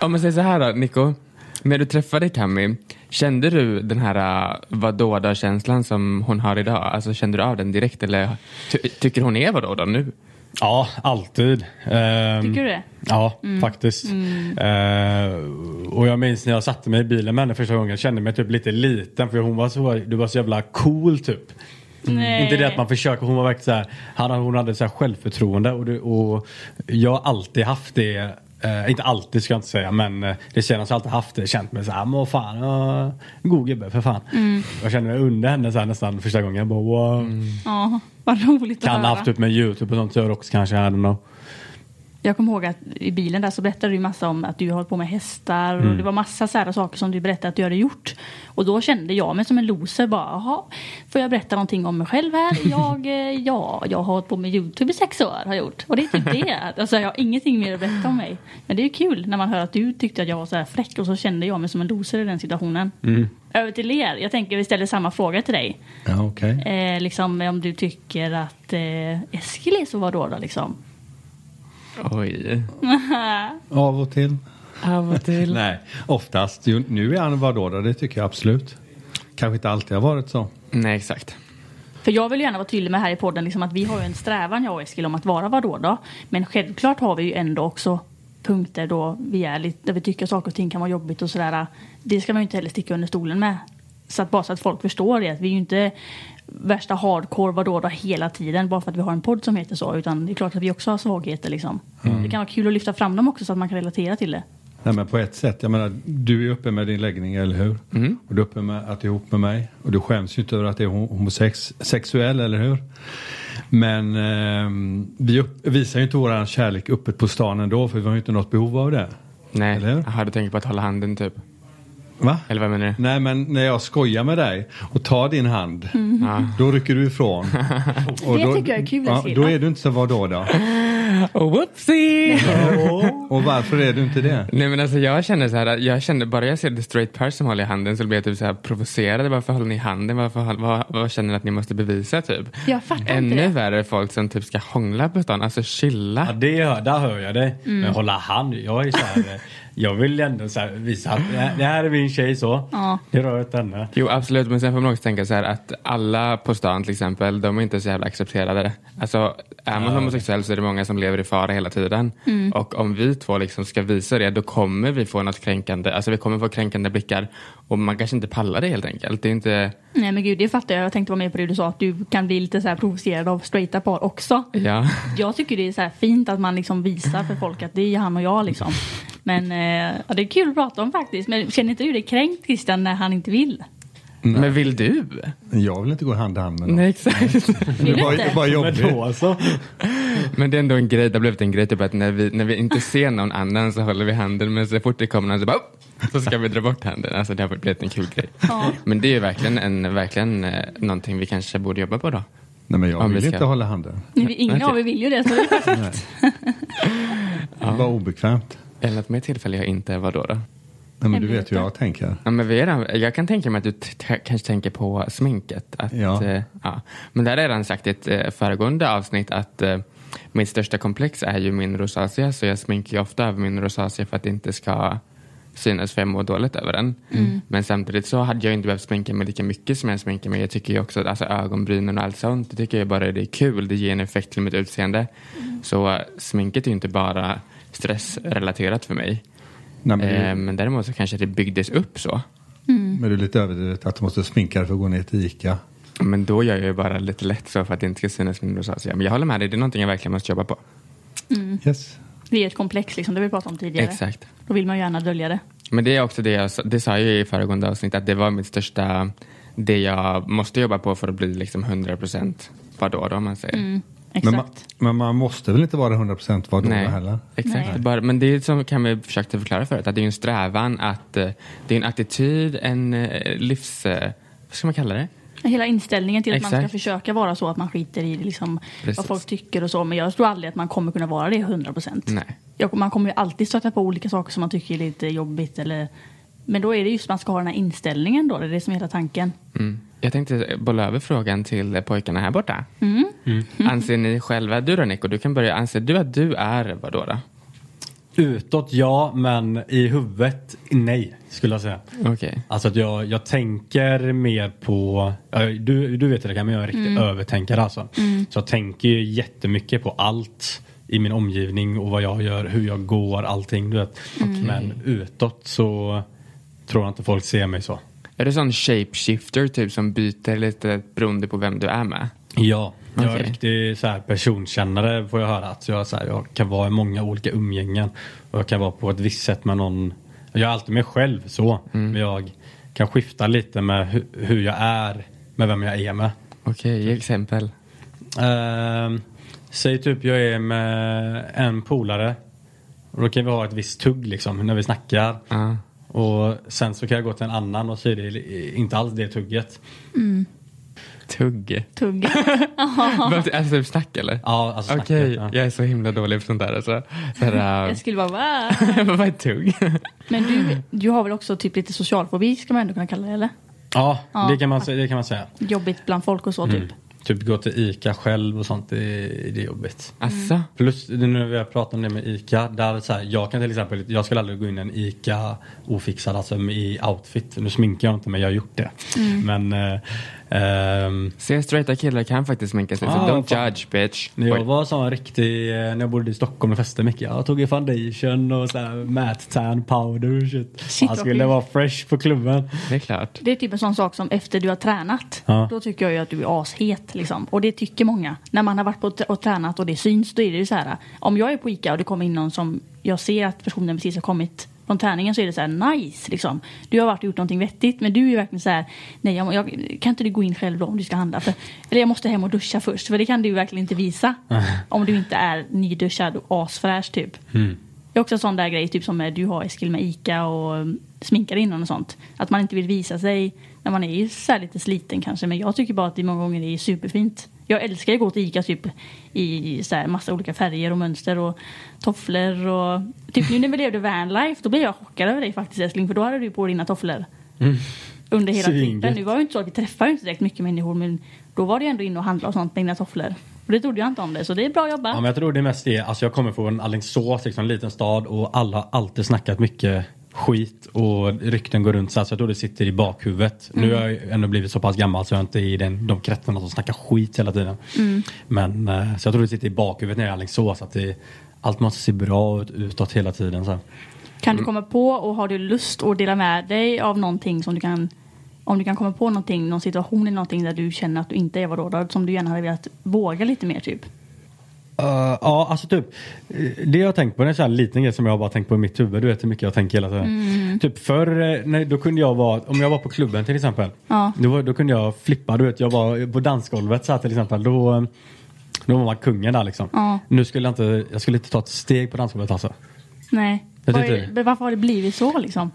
S1: Om man säger så här då, Nico. När du träffade Cammy, kände du den här uh, vadå-då-känslan som hon har idag? Alltså kände du av den direkt eller ty- tycker hon är vadå-då nu?
S3: Ja, alltid. Ehm,
S2: Tycker du det? Mm.
S3: Ja, faktiskt. Eh, och jag minns när jag satte mig i bilen med henne första gången. Jag kände mig typ lite liten för hon var så, du var så jävla cool typ.
S2: Nej.
S3: Inte det att man försöker, hon var verkligen så här, han, hon hade så här självförtroende och, det, och jag har alltid haft det, eh, inte alltid ska jag inte säga men eh, det känns alltid haft det, känt mig så här, "Ah, men vad fan, jag är en god gubbe för fan.
S2: Mm.
S3: Jag kände mig under henne så här, nästan första gången, jag bara wow.
S2: Ja, vad roligt att
S3: Kan typ
S2: höra.
S3: ha haft upp med Youtube och sånt gör också kanske, I don't know.
S2: Jag kommer ihåg att i bilen där så berättade du ju massa om att du håller på med hästar och det var massa så här saker som du berättade att du hade gjort. Och då kände jag mig som en loser bara, jaha, får jag berätta någonting om mig själv här? Jag, eh, ja, jag har hållit på med YouTube i sex år har jag gjort. Och det är typ det. Alltså jag har ingenting mer att berätta om mig. Men det är ju kul när man hör att du tyckte att jag var så här fräck och så kände jag mig som en loser i den situationen. Över till er. Jag tänker vi ställer samma fråga till dig.
S4: Ja, okej.
S2: Eh, liksom om du tycker att eh, Eskil är så vadå då liksom?
S1: Oj.
S4: Av och till.
S1: Av och till.
S4: Nej, oftast. Jo, Nu är han vadå då? Det tycker jag absolut. Kanske inte alltid har varit så.
S1: Nej, exakt.
S2: För jag vill ju gärna vara tydlig med här i podden liksom att vi har ju en strävan jag och Eskil om att vara vadå då? Men självklart har vi ju ändå också punkter då vi är lite, där vi tycker saker och ting kan vara jobbigt och sådär. Det ska man ju inte heller sticka under stolen med. Så att bara så att folk förstår det att vi är ju inte värsta hardcore vadå då hela tiden bara för att vi har en podd som heter så utan det är klart att vi också har svagheter liksom.
S4: Mm.
S2: Det kan vara kul att lyfta fram dem också så att man kan relatera till det.
S4: Nej, men på ett sätt. Jag menar, du är uppe med din läggning, eller hur?
S1: Mm.
S4: Och du är uppe med att du är ihop med mig. Och du skäms ju inte över att det är hom- homosexuell, eller hur? Men ehm, vi upp, visar ju inte våran kärlek öppet på stan ändå, för vi har ju inte något behov av det.
S1: Nej.
S4: Eller hur?
S1: Jaha, du tänker på att hålla handen typ?
S4: Va?
S1: Eller vad menar du?
S4: Nej, men när jag skojar med dig och tar din hand, då rycker du ifrån. Och
S2: Det tycker jag är kul,
S4: ja,
S2: Eskil.
S4: Då är du inte så vadå då?
S1: Oh, whoopsie!
S4: och varför är du inte det?
S1: Nej men alltså jag känner så här, jag känner bara jag ser the straight person hålla i handen så blir jag typ så här provocerad. Varför håller ni i handen? Varför, håll- vad, vad känner ni att ni måste bevisa typ?
S2: Jag fattar inte
S1: Ännu
S2: det.
S1: värre folk som typ ska hångla på stan, alltså chilla.
S3: Ja, det hör, där hör jag dig. Men hålla hand, jag är så här, eh, jag vill ändå så här visa att det här- det här är min tjej så.
S2: Ja.
S3: Det rör inte henne.
S1: Jo absolut, men sen får man också tänka så här att alla på stan till exempel, de är inte så jävla accepterade. Alltså är man homosexuell så är det många som lever i fara hela tiden. Och om vi två liksom ska visa det, då kommer vi få något kränkande, alltså vi kommer få kränkande blickar. Och man kanske inte pallar det helt enkelt. Det är inte,
S2: Nej men gud det fattar jag. Jag tänkte vara med på det du sa att du kan bli lite så här provocerad av straighta par också.
S1: ja.
S2: Jag tycker det är så här fint att man liksom visar för folk att det är han och jag liksom. Men eh, ja, det är kul att prata om faktiskt. Men känner inte du dig kränkt Christian när han inte vill?
S1: Men vill du?
S4: Jag vill inte gå hand i hand med någon.
S1: Nej exakt.
S2: Vill
S4: Det
S2: du
S4: var,
S2: inte?
S4: det var
S3: Men
S4: jobbigt.
S3: då alltså.
S1: Men det är ändå en grej, det har blivit en grej typ att när vi, när vi inte ser någon annan så håller vi handen men så fort det kommer någon så bara "Upp!" så ska vi dra bort handen. Alltså det har blivit en kul grej.
S2: Ja.
S1: Men det är ju verkligen, en, verkligen eh, någonting vi kanske borde jobba på då.
S4: Nej, men jag
S1: Om vi
S4: vill
S1: ska-
S4: inte hålla handen.
S2: Ni vill- Ingen
S1: Okej.
S2: av er vill ju det. Så det är perfekt.
S4: Det var obekvämt.
S1: Eller något mer tillfälle jag inte är vadå då?
S4: Nej, men du
S2: Hemligheter.
S4: vet hur jag tänker.
S1: Ja, men vi är redan, jag kan tänka mig att du t- t- kanske tänker på sminket. Att,
S4: Ja.
S1: eh, ja. Men där har jag redan sagt i ett eh, föregående avsnitt att eh, mitt största komplex är ju min rosacea så jag sminkar ju ofta över min rosacea för att det inte ska synas för jag mår dåligt över den. Men samtidigt så hade jag inte behövt sminka mig lika mycket som jag sminkar mig. Jag tycker ju också att alltså, ögonbrynen och allt sånt, det tycker jag bara det är kul. Det ger en effekt till mitt utseende. Så eh, sminket är ju inte bara stressrelaterat för mig.
S4: Nej, men,
S1: Eh,
S4: du,
S1: men däremot så kanske det byggdes upp så.
S4: men du är lite överdrivet att du måste sminka dig för att gå ner till Ica.
S1: Men då gör jag ju bara lite lätt så för att det inte ska synas min rosacea. Men jag håller med dig, det är någonting jag verkligen måste jobba på. Mm.
S4: Yes.
S2: Det är ett komplex liksom, det vi pratade om tidigare.
S1: Exakt.
S2: Då vill man ju gärna dölja det.
S1: Men det är också det jag sa- det sa jag ju i föregående avsnitt, att det var mitt största, det jag måste jobba på för att bli liksom 100% vadå då om man säger.
S2: Exakt.
S4: Men, man, men man måste väl inte vara 100% vad då
S1: Nej,
S4: heller?
S1: exakt.
S2: Nej.
S1: Bara, men det är som kan vi försökte förklara förut, att det är ju en strävan att, eh, det är en attityd, en eh, livs, eh, vad ska man kalla det?
S2: Hela inställningen till att man ska
S1: Exakt.
S2: försöka vara så att man skiter i liksom, vad
S1: Precis.
S2: folk tycker och så. Men jag tror aldrig att man kommer kunna vara det 100 procent.
S1: Nej.
S2: Man kommer ju alltid stöta på olika saker som man tycker är lite jobbigt. Eller, men då är det just man ska ha den här inställningen då. Det är det som är hela tanken.
S1: Mm. Jag tänkte bolla över frågan till pojkarna här borta. Mm. Anser ni själva, du då Nico, du kan börja, anser du att du är vadå då?
S3: Utåt ja, men i huvudet nej skulle jag säga.
S1: Okej.
S3: Alltså att jag, jag tänker mer på, ja, du, du vet hur det kan, men jag är en riktig övertänkare alltså. Så jag tänker ju jättemycket på allt i min omgivning och vad jag gör, hur jag går, allting du vet. Men utåt så tror jag inte folk ser mig så.
S1: Är du sån shapeshifter typ som byter lite beroende på vem du är med?
S3: Ja, jag är
S1: Okej.
S3: en riktig så här, personkännare får jag höra. Att jag, så här, jag kan vara i många olika umgängen och jag kan vara på ett visst sätt med någon. Jag är alltid mig själv så,
S1: Mm.
S3: men jag kan skifta lite med hu- hur jag är med vem jag är med.
S1: Okej, ge exempel.
S3: Ehm, Säg typ jag är med en polare. Och då kan vi ha ett visst tugg liksom när vi snackar.
S1: Ja.
S3: Och sen så kan jag gå till en annan och så är det inte alls det tugget.
S1: Tugg.
S2: Tugg.
S1: Behöver- Alltså typ snack eller?
S3: Ja, alltså snacket.
S1: Okej,
S3: ja.
S1: jag är så himla dålig på sånt där. Alltså. Så här,
S2: Jag
S1: äh,
S2: skulle bara va?
S1: vad är tugg?
S2: Men du, du har väl också typ lite social fobi ska man ändå kunna kalla det eller?
S3: Ja,
S2: Ja.
S3: Det, kan man, sä- det kan man säga.
S2: Jobbigt bland folk och så typ.
S3: Typ gå till ICA själv och sånt, det, är- det är jobbigt.
S1: Alltså,
S3: Plus nu när vi har pratat om det med ICA, där så här, jag kan till exempel, jag skulle aldrig gå in i en ICA ofixad, alltså med- i outfit. Nu sminkar jag inte men jag har gjort det.
S2: Mm.
S3: Men eh, ehm,
S1: ser straighta killar kan faktiskt sminka sig.
S3: Ah,
S1: så don't
S3: fan.
S1: judge bitch.
S3: när jag
S1: Oj.
S3: var sån riktig, eh, när jag bodde i Stockholm och festade mycket, jag tog i foundation och så här matte tan powder och shit.
S2: Shit,
S3: Man
S2: vad
S3: skulle
S2: sjukt.
S3: vara fresh på klubben.
S1: Det är klart.
S2: Det är typ en sån sak som efter du har tränat.
S3: Ja.
S2: Då tycker jag ju att du är ashet liksom. Och det tycker många. När man har varit på och tränat och det syns då är det ju så här. Om jag är på Ica och det kommer in någon som jag ser att personen precis har kommit från träningen så är det så här nice liksom. Du har varit och gjort någonting vettigt men du är ju verkligen så här. Nej jag, jag, kan inte du gå in själv då om du ska handla? För, eller jag måste hem och duscha först för det kan du ju verkligen inte visa. Om du inte är nyduschad och asfräsch typ. Det är också en sån där grej, typ som eh, du har Eskil med Ica och mm, sminkar innan och sånt. Att man inte vill visa sig när man är ju så här lite sliten kanske. Men jag tycker bara att det många gånger är superfint. Jag älskar att gå till Ica typ i så här massa olika färger och mönster och tofflor och... Typ nu när vi levde vanlife, då blev jag chockad över dig faktiskt Eskling, för då hade du på dina tofflor. Under hela
S3: Svingigt.
S2: tiden. Nu var det ju inte så att vi träffade ju inte direkt mycket människor men då var det ju ändå in och handla och sånt med dina tofflor. Och det trodde jag inte om det, så det är bra jobbat.
S3: Ja, men jag tror det mest är, alltså jag kommer från Alingsås, liksom, en liten stad och alla har alltid snackat mycket skit och rykten går runt så, här, så jag tror det sitter i bakhuvudet. Nu har jag ju ändå blivit så pass gammal så jag är inte i den, de kretsarna som snackar skit hela tiden. Men, eh, så jag tror det sitter i bakhuvudet när jag är i Alingsås att det, allt måste se bra ut utåt hela tiden. Så. här.
S2: Kan du komma på och har du lust att dela med dig av någonting som du kan om du kan komma på någonting, någon situation eller någonting där du känner att du inte är vardådad som du gärna hade velat våga lite mer typ.
S3: Eh, ja, alltså typ. eh, Det jag har tänkt på, det är en sån här liten grej som jag har bara tänkt på i mitt huvud. Du vet hur mycket jag tänker hela tiden.
S2: Mm.
S3: Typ förr, eh, nej, då kunde jag vara, om jag var på klubben till exempel.
S2: Ja.
S3: Då, var- då kunde jag flippa, du vet jag var på dansgolvet så här till exempel. Då, eh, då var man kungen där liksom.
S2: Ja.
S3: Nu skulle jag inte, jag skulle inte ta ett steg på dansgolvet alltså.
S2: Nej.
S3: Jag
S2: Vad
S3: tyckte
S2: är,
S3: det.
S2: men varför har det blivit så liksom?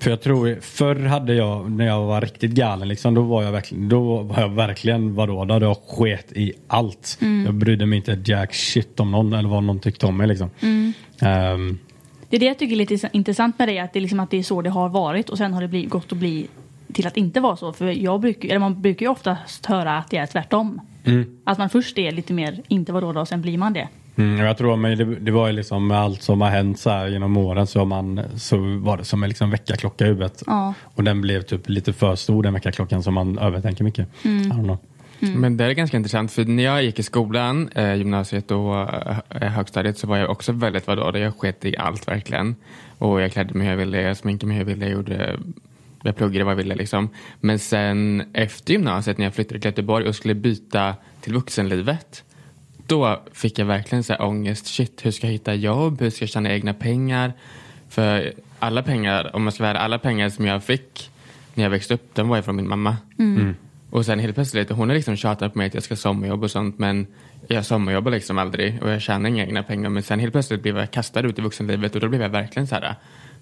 S3: För jag tror, förr hade jag, när jag var riktigt galen liksom, då var jag verkligen, då var jag verkligen vadå, då hade jag sket i allt. Jag brydde mig inte jack shit om någon eller vad någon tyckte om mig liksom. Ehm,
S2: Det är det jag tycker är lite intressant med det, att det är, liksom att det är så det har varit och sen har det blivit, gått att bli till att inte vara så. För jag brukar, eller man brukar ju oftast höra att det är tvärtom. Att man först är lite mer inte vardådad och sen blir man det.
S3: Mm, och jag tror men det, det var ju liksom med allt som har hänt så här genom åren så, har man, så var det som en liksom väckarklocka i huvudet.
S2: Ja.
S3: Och den blev typ lite för stor den väckarklockan som man övertänker mycket. I don't know.
S1: Men det är ganska intressant, för när jag gick i skolan, eh, gymnasiet och eh, högstadiet så var jag också väldigt vadå, jag sket i allt verkligen. Och jag klädde mig hur jag ville, jag sminkade mig hur jag ville, jag, gjorde, jag pluggade vad jag ville liksom. Men sen efter gymnasiet när jag flyttade till Göteborg och skulle byta till vuxenlivet, då fick jag verkligen så här ångest. Shit, hur ska jag hitta jobb? Hur ska jag tjäna egna pengar? För alla pengar, om man ska vara ärlig, alla pengar som jag fick när jag växte upp, de var ju från min mamma. Och sen helt plötsligt, hon har liksom tjatat på mig att jag ska sommarjobba och sånt, men jag sommarjobbar liksom aldrig och jag tjänar inga egna pengar. Men sen helt plötsligt blev jag kastad ut i vuxenlivet och då blev jag verkligen så här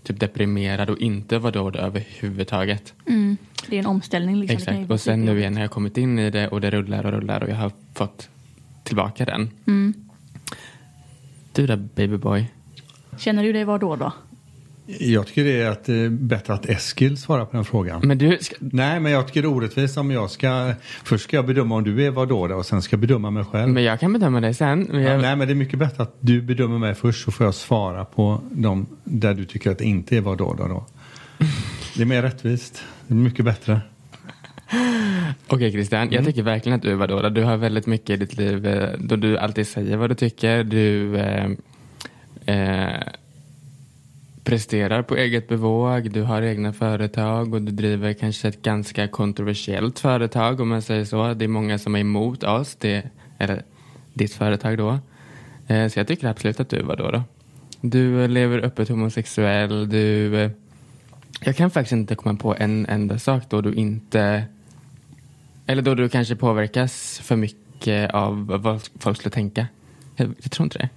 S1: typ deprimerad och inte var då överhuvudtaget.
S2: Det är en omställning liksom. Det kan ju
S1: Exakt.
S2: vara
S1: Och sen nu
S2: superjobbigt.
S1: igen har jag kommit in i det och det rullar och rullar och jag har fått tillbaka den. Du då babyboy?
S2: Känner du dig vardådad?
S4: Jag tycker det är att, eh, bättre att Eskil svarar på den frågan.
S1: Men du, ska,
S4: Nej, men jag tycker det är orättvist om jag ska... Först ska jag bedöma om du är vad då och sen ska jag bedöma mig själv.
S1: men jag kan bedöma det sen. Men
S4: Ja,
S1: jag,
S4: nej, men det är mycket bättre att du bedömer mig först så får jag svara på de där du tycker att det inte är vad då då. då. Det är mer rättvist. Det är mycket bättre.
S1: Okej Christian, jag tycker verkligen att du är vadå? Du har väldigt mycket i ditt liv eh, då du alltid säger vad du tycker. Du eh, eh, presterar på eget bevåg, du har egna företag och du driver kanske ett ganska kontroversiellt företag om man säger så. Det är många som är emot oss, det, eller ditt företag då. Eh, så jag tycker absolut att du är vadå? Då? Du eh, lever öppet homosexuell, du... Eh, jag kan faktiskt inte komma på en enda sak då du inte eller då du kanske påverkas för mycket av vad folk skulle tänka. Jag, jag tror inte det.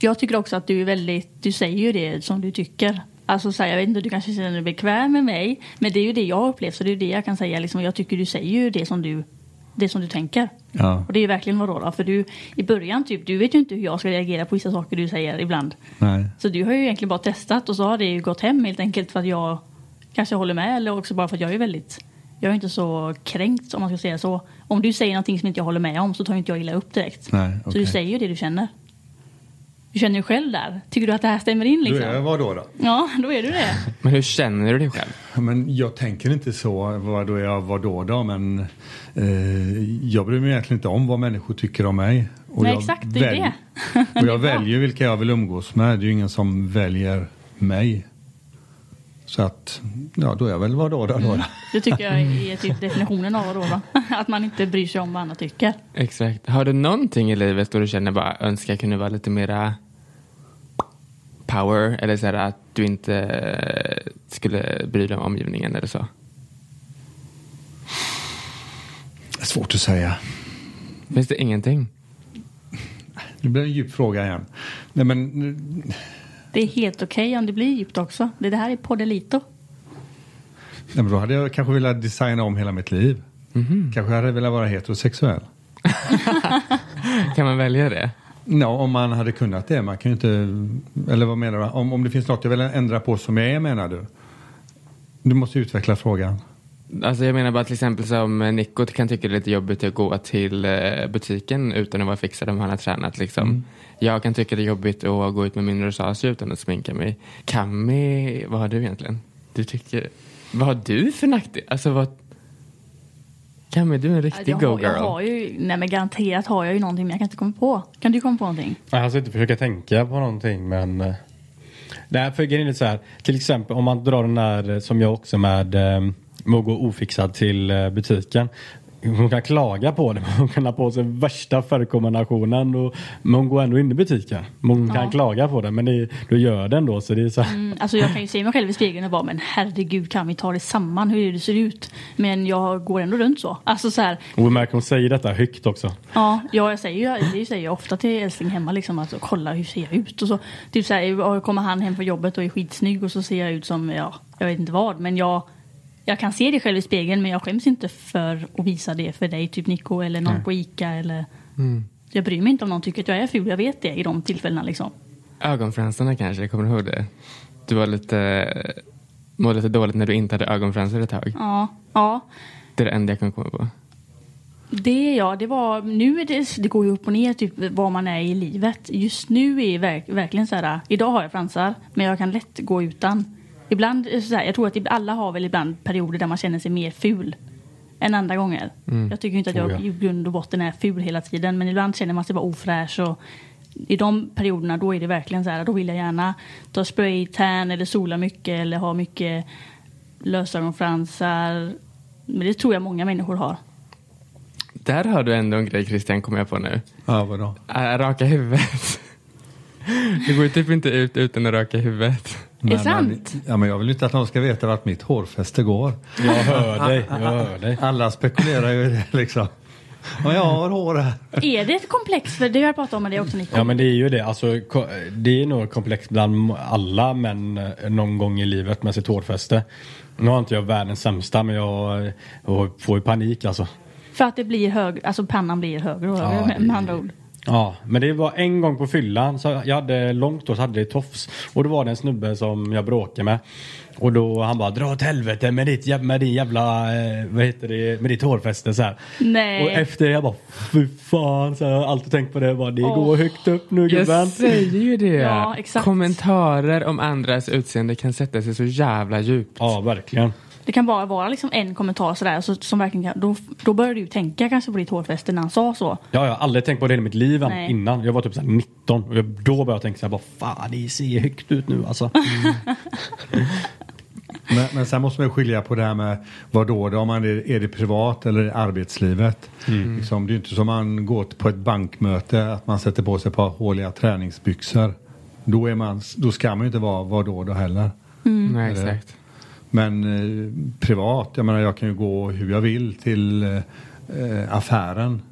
S2: Jag tycker också att du är väldigt, du säger ju det som du tycker. Alltså så här, jag vet inte, du kanske känner dig bekväm med mig, men det är ju det jag har upplevt så det är ju det jag kan säga. Liksom, jag tycker du säger ju det som du, det som du tänker.
S4: Ja.
S2: Och det är ju verkligen vad då, för du i början typ, du vet ju inte hur jag ska reagera på vissa saker du säger ibland.
S4: Nej.
S2: Så du har ju egentligen bara testat och så har det ju gått hem helt enkelt för att jag kanske håller med eller också bara för att jag är väldigt jag är inte så kränkt om man ska säga så. Om du säger någonting som inte jag håller med om så tar inte jag illa upp direkt.
S4: Nej,
S2: Så
S4: okej.
S2: du säger ju det du känner. Du känner ju själv där. Tycker du att det här stämmer in
S4: Du
S2: liksom?
S4: är vad då? då?
S2: Ja, då är du det.
S1: Men hur känner du dig själv?
S4: Men jag tänker inte så, vad då jag vad då, då men eh, jag bryr mig egentligen inte om vad människor tycker om mig. Och
S2: Nej,
S4: jag
S2: exakt, det är
S4: välj-
S2: det.
S4: Och
S2: Det är
S4: jag
S2: bra.
S4: väljer vilka jag vill umgås med, det är ju ingen som väljer mig. Så att, ja då är jag väl vad då, då, då.
S2: Det tycker jag är typ definitionen av vad då, va? Att man inte bryr sig om vad andra tycker.
S1: Exakt. Har du någonting i livet då du känner bara önskar jag kunde vara lite mera power eller så här att du inte eh, skulle bry dig om omgivningen eller så?
S4: Svårt att säga.
S1: Finns det ingenting?
S4: Det blir en djup fråga igen. Nej men,
S2: Det är helt okej om det blir djupt också. Det det här är poddelito.
S4: Nej, men då hade jag kanske velat designa om hela mitt liv.
S2: Mhm.
S4: Kanske hade jag velat vara heterosexuell.
S1: Kan man välja det?
S4: Ja, om man hade kunnat det. Man kan ju inte... Eller vad menar du? Om, om det finns något jag vill ändra på som jag är menar du? Du måste utveckla frågan.
S1: Alltså jag menar bara till exempel som Nico kan tycka det är lite jobbigt att gå till eh, butiken utan att vara fixad om han har tränat liksom. Jag kan tycka det är jobbigt att gå ut med min rosacea utan att sminka mig. Kami, vad har du egentligen? Du tycker, vad har du för nackdel? Alltså vad... Kami, du är en riktig
S2: jag, har,
S1: go-girl.
S2: jag har ju, nej men garanterat har jag ju någonting men jag kan inte komma på. Kan du komma på någonting?
S3: Nej, han ska inte försöka tänka på någonting men... eh, Nej, för grejen är så här. Till exempel om man drar den där eh, som jag också med, eh, med att gå ofixad till eh, butiken. Hon kan klaga på det, men hon kan ha på sig värsta färgkombinationen. Och, men hon går ändå in i butiken. Men hon kan klaga på det, men det, då gör den då. Så det är så här.
S2: Mm, Alltså jag kan ju se mig själv i spegeln och bara men herregud kan vi ta det samman hur det ser ut. Men jag går ändå runt så. Alltså så här,
S3: Och vi märker hon säger detta högt också.
S2: Ja, ja jag säger ju det säger jag ofta till älskling hemma liksom att kolla hur ser jag ut och så. Typ så här, ja, kommer han hem från jobbet och är skitsnygg och så ser jag ut som, ja, jag vet inte vad. Men jag, jag kan se det själv i spegeln men jag skäms inte för att visa det för dig, typ Nico eller någon på Ica eller. Jag bryr mig inte om någon tycker att jag är ful, jag vet det i de tillfällena liksom.
S1: Ögonfransarna kanske, kommer du ihåg det? Du var lite, mådde lite dåligt när du inte hade ögonfransar ett tag.
S2: Ja, ja.
S1: Det är det enda jag kan komma på.
S2: Det ja, det var, nu är det, det går ju upp och ner typ var man är i livet. Just nu är verk, verkligen så här, idag har jag fransar men jag kan lätt gå utan. Ibland, är det så här, jag tror att typ alla har väl ibland perioder där man känner sig mer ful än andra gånger. Jag tycker ju inte att jag
S3: Oh, ja.
S2: i grund och botten är ful hela tiden men ibland känner man sig bara ofräsch och i de perioderna då är det verkligen så här, då vill jag gärna ta spraytan eller sola mycket eller ha mycket lösögonfransar. Men det tror jag många människor har.
S1: Där har du ändå en grej Christian, kommer jag på nu.
S4: Ja, vadå?
S1: Äh, raka huvudet. Det går ju typ inte ut utan att raka huvudet.
S2: Är det
S4: Men-
S2: sant?
S4: Ja, men jag vill inte att någon ska veta vart mitt hårfäste går.
S3: Jag hör dig, jag hör dig.
S4: Alla spekulerar ju i det liksom. Ja, jag har hår här.
S2: Är det ett komplex? För det har jag pratat om med dig också Nico.
S3: Ja men det är ju det. Alltså, ko- det är nog komplext bland alla män eh, någon gång i livet med sitt hårfäste. Nu har inte jag världens sämsta men jag, eh, jag får ju panik alltså.
S2: För att det blir hög, alltså pannan blir högre och högre
S3: Ja,
S2: med,
S3: det-
S2: med andra ord.
S3: Ja, men det var en gång på fyllan. Så jag hade långt hår så hade det tofs. Och då var det en snubbe som jag bråkade med. Och då han bara dra åt helvete med ditt jäv- med din jävla, eh, vad heter det, med ditt hårfäste så här.
S2: Nej.
S3: Och efter det jag bara fy fan så här, jag har alltid tänkt på det. Jag bara, det går
S2: Åh.
S3: högt upp nu
S1: Jag
S3: gubben.
S1: säger ju det.
S2: Ja, exakt.
S1: Kommentarer om andras utseende kan sätta sig så jävla djupt.
S3: Ja, verkligen.
S2: Det kan bara vara liksom en kommentar sådär så, som verkligen kan, då, då börjar du ju tänka kanske på ditt hårfäste när han sa så.
S3: Ja, jag har aldrig tänkt på det i mitt liv än-
S2: Nej.
S3: innan. Jag var typ såhär 19 och jag, då började jag tänka såhär, bara fan det ser högt ut nu alltså.
S4: Men, men sen måste man ju skilja på det här med vad då, då om man är, är det privat eller i arbetslivet. Liksom, det är ju inte som man går till- på ett bankmöte att man sätter på sig ett par håliga träningsbyxor. Då, är man, då ska man ju inte vara vad då, då heller.
S2: Mm.
S1: Nej, exakt.
S4: Men eh, privat, jag menar jag kan ju gå hur jag vill till eh, eh, affären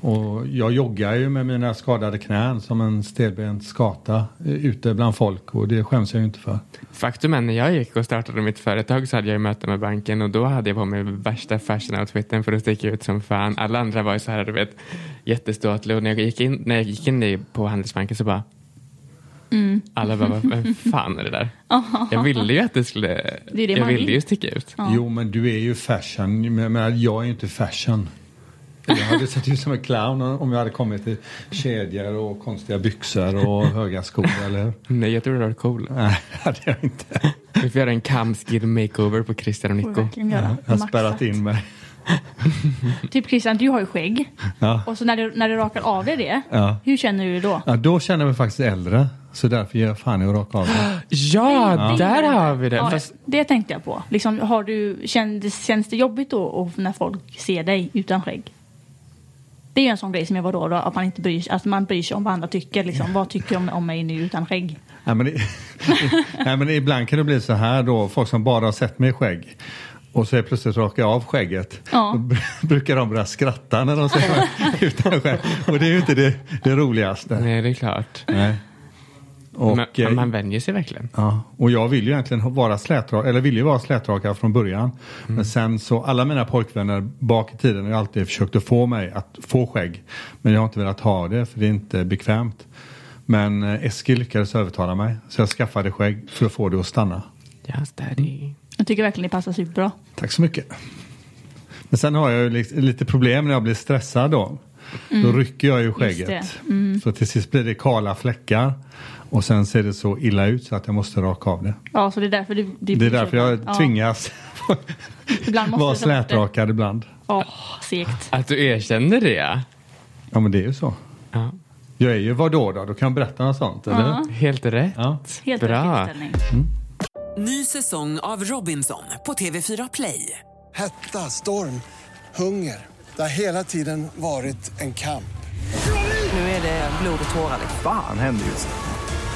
S4: Och jag joggar ju med mina skadade knän som en stelbent skata eh, ute bland folk och det skäms jag ju inte för.
S1: Faktum är när jag gick och startade mitt företag så hade jag ju möte med banken och då hade jag på mig värsta fashion outfiten för att sticka ut som fan. Alla andra var ju så här, du vet, jätteståtliga och när jag gick in, när jag gick in i- på Handelsbanken så bara
S2: Mm.
S1: Alla bara, "Vad- vem fan är det där? Jag ville ju att det skulle,
S2: Det är det
S1: jag
S2: man
S1: ville
S2: vill.
S1: ju sticka ut.
S4: Jo men du är ju fashion, men jag menar, jag är ju inte fashion. Jag hade sett ut som en clown om jag hade kommit i kedjor och konstiga byxor och höga skor eller hur?
S1: Nej, jag tror det var cool.
S4: Nej, det hade jag inte.
S1: Vi får göra en camskid makeover på Christian och
S2: Får vi
S1: Nico.
S2: verkligen göra.
S4: Jag har
S2: Maxat.
S4: spärrat in mig.
S2: Typ Christian, du har ju skägg.
S4: Ja.
S2: Och så när du, när du rakar av dig det,
S4: Ja.
S2: hur känner du då?
S4: Ja, då känner jag mig faktiskt äldre. Så därför ger jag fan i att raka av mig.
S1: Ja, där har vi det.
S2: Ja,
S1: Fast,
S2: Det tänkte jag på. Liksom, har du, känns, känns det jobbigt då och när folk ser dig utan skägg? Det är ju en sån grej som jag var då, då att man inte bryr sig, att man bryr sig om vad andra tycker. Liksom. Vad tycker de om mig nu utan skägg?
S4: Nej, men, i- nej, men ibland kan det bli så här då, folk som bara har sett mig i skägg. Och så är plötsligt rakar jag av skägget.
S2: Ja.
S4: Då br- brukar de börja skratta när de ser mig utan skägg. Och det är ju inte det, det roligaste.
S1: nej, det är klart.
S4: Nej. Och,
S1: Man,
S4: eh,
S1: man vänjer sig verkligen.
S4: Ja, och jag vill ju egentligen ha- vara slätrak, eller vill ju vara slätrakad från början. Men sen så, alla mina pojkvänner bak i tiden har ju alltid försökt att få mig att få skägg. Men jag har inte velat ha det för det är inte bekvämt. Men eh, Eskil lyckades övertala mig så jag skaffade skägg för att få det att stanna.
S1: Just daddy.
S2: Jag tycker verkligen det passar superbra.
S4: Tack så mycket. Men sen har jag ju li- lite problem när jag blir stressad då. Då rycker jag ju skägget.
S2: Mm. det. Mm.
S4: Så till sist blir det kala fläckar. Och sen ser det så illa ut så att jag måste raka av det.
S2: Ja, så det är därför du... du
S4: Det är därför
S2: Ja.
S4: jag tvingas
S2: Ibland måste du
S4: vara
S2: ta bort det.
S4: slätrakad ibland.
S2: Åh, segt.
S1: Att du erkänner det.
S4: Ja men det är ju så.
S1: Ja.
S4: Jag är ju vadå då? Då kan jag berätta något sånt eller?
S1: Helt rätt.
S4: Ja.
S2: Helt rätt
S1: Bra.
S2: inställning.
S6: Ny säsong av Robinson på TV4 Play.
S7: Hetta, storm, hunger. Det har hela tiden varit en kamp.
S6: Nu är det blod och tårar.
S8: Fan händer just det.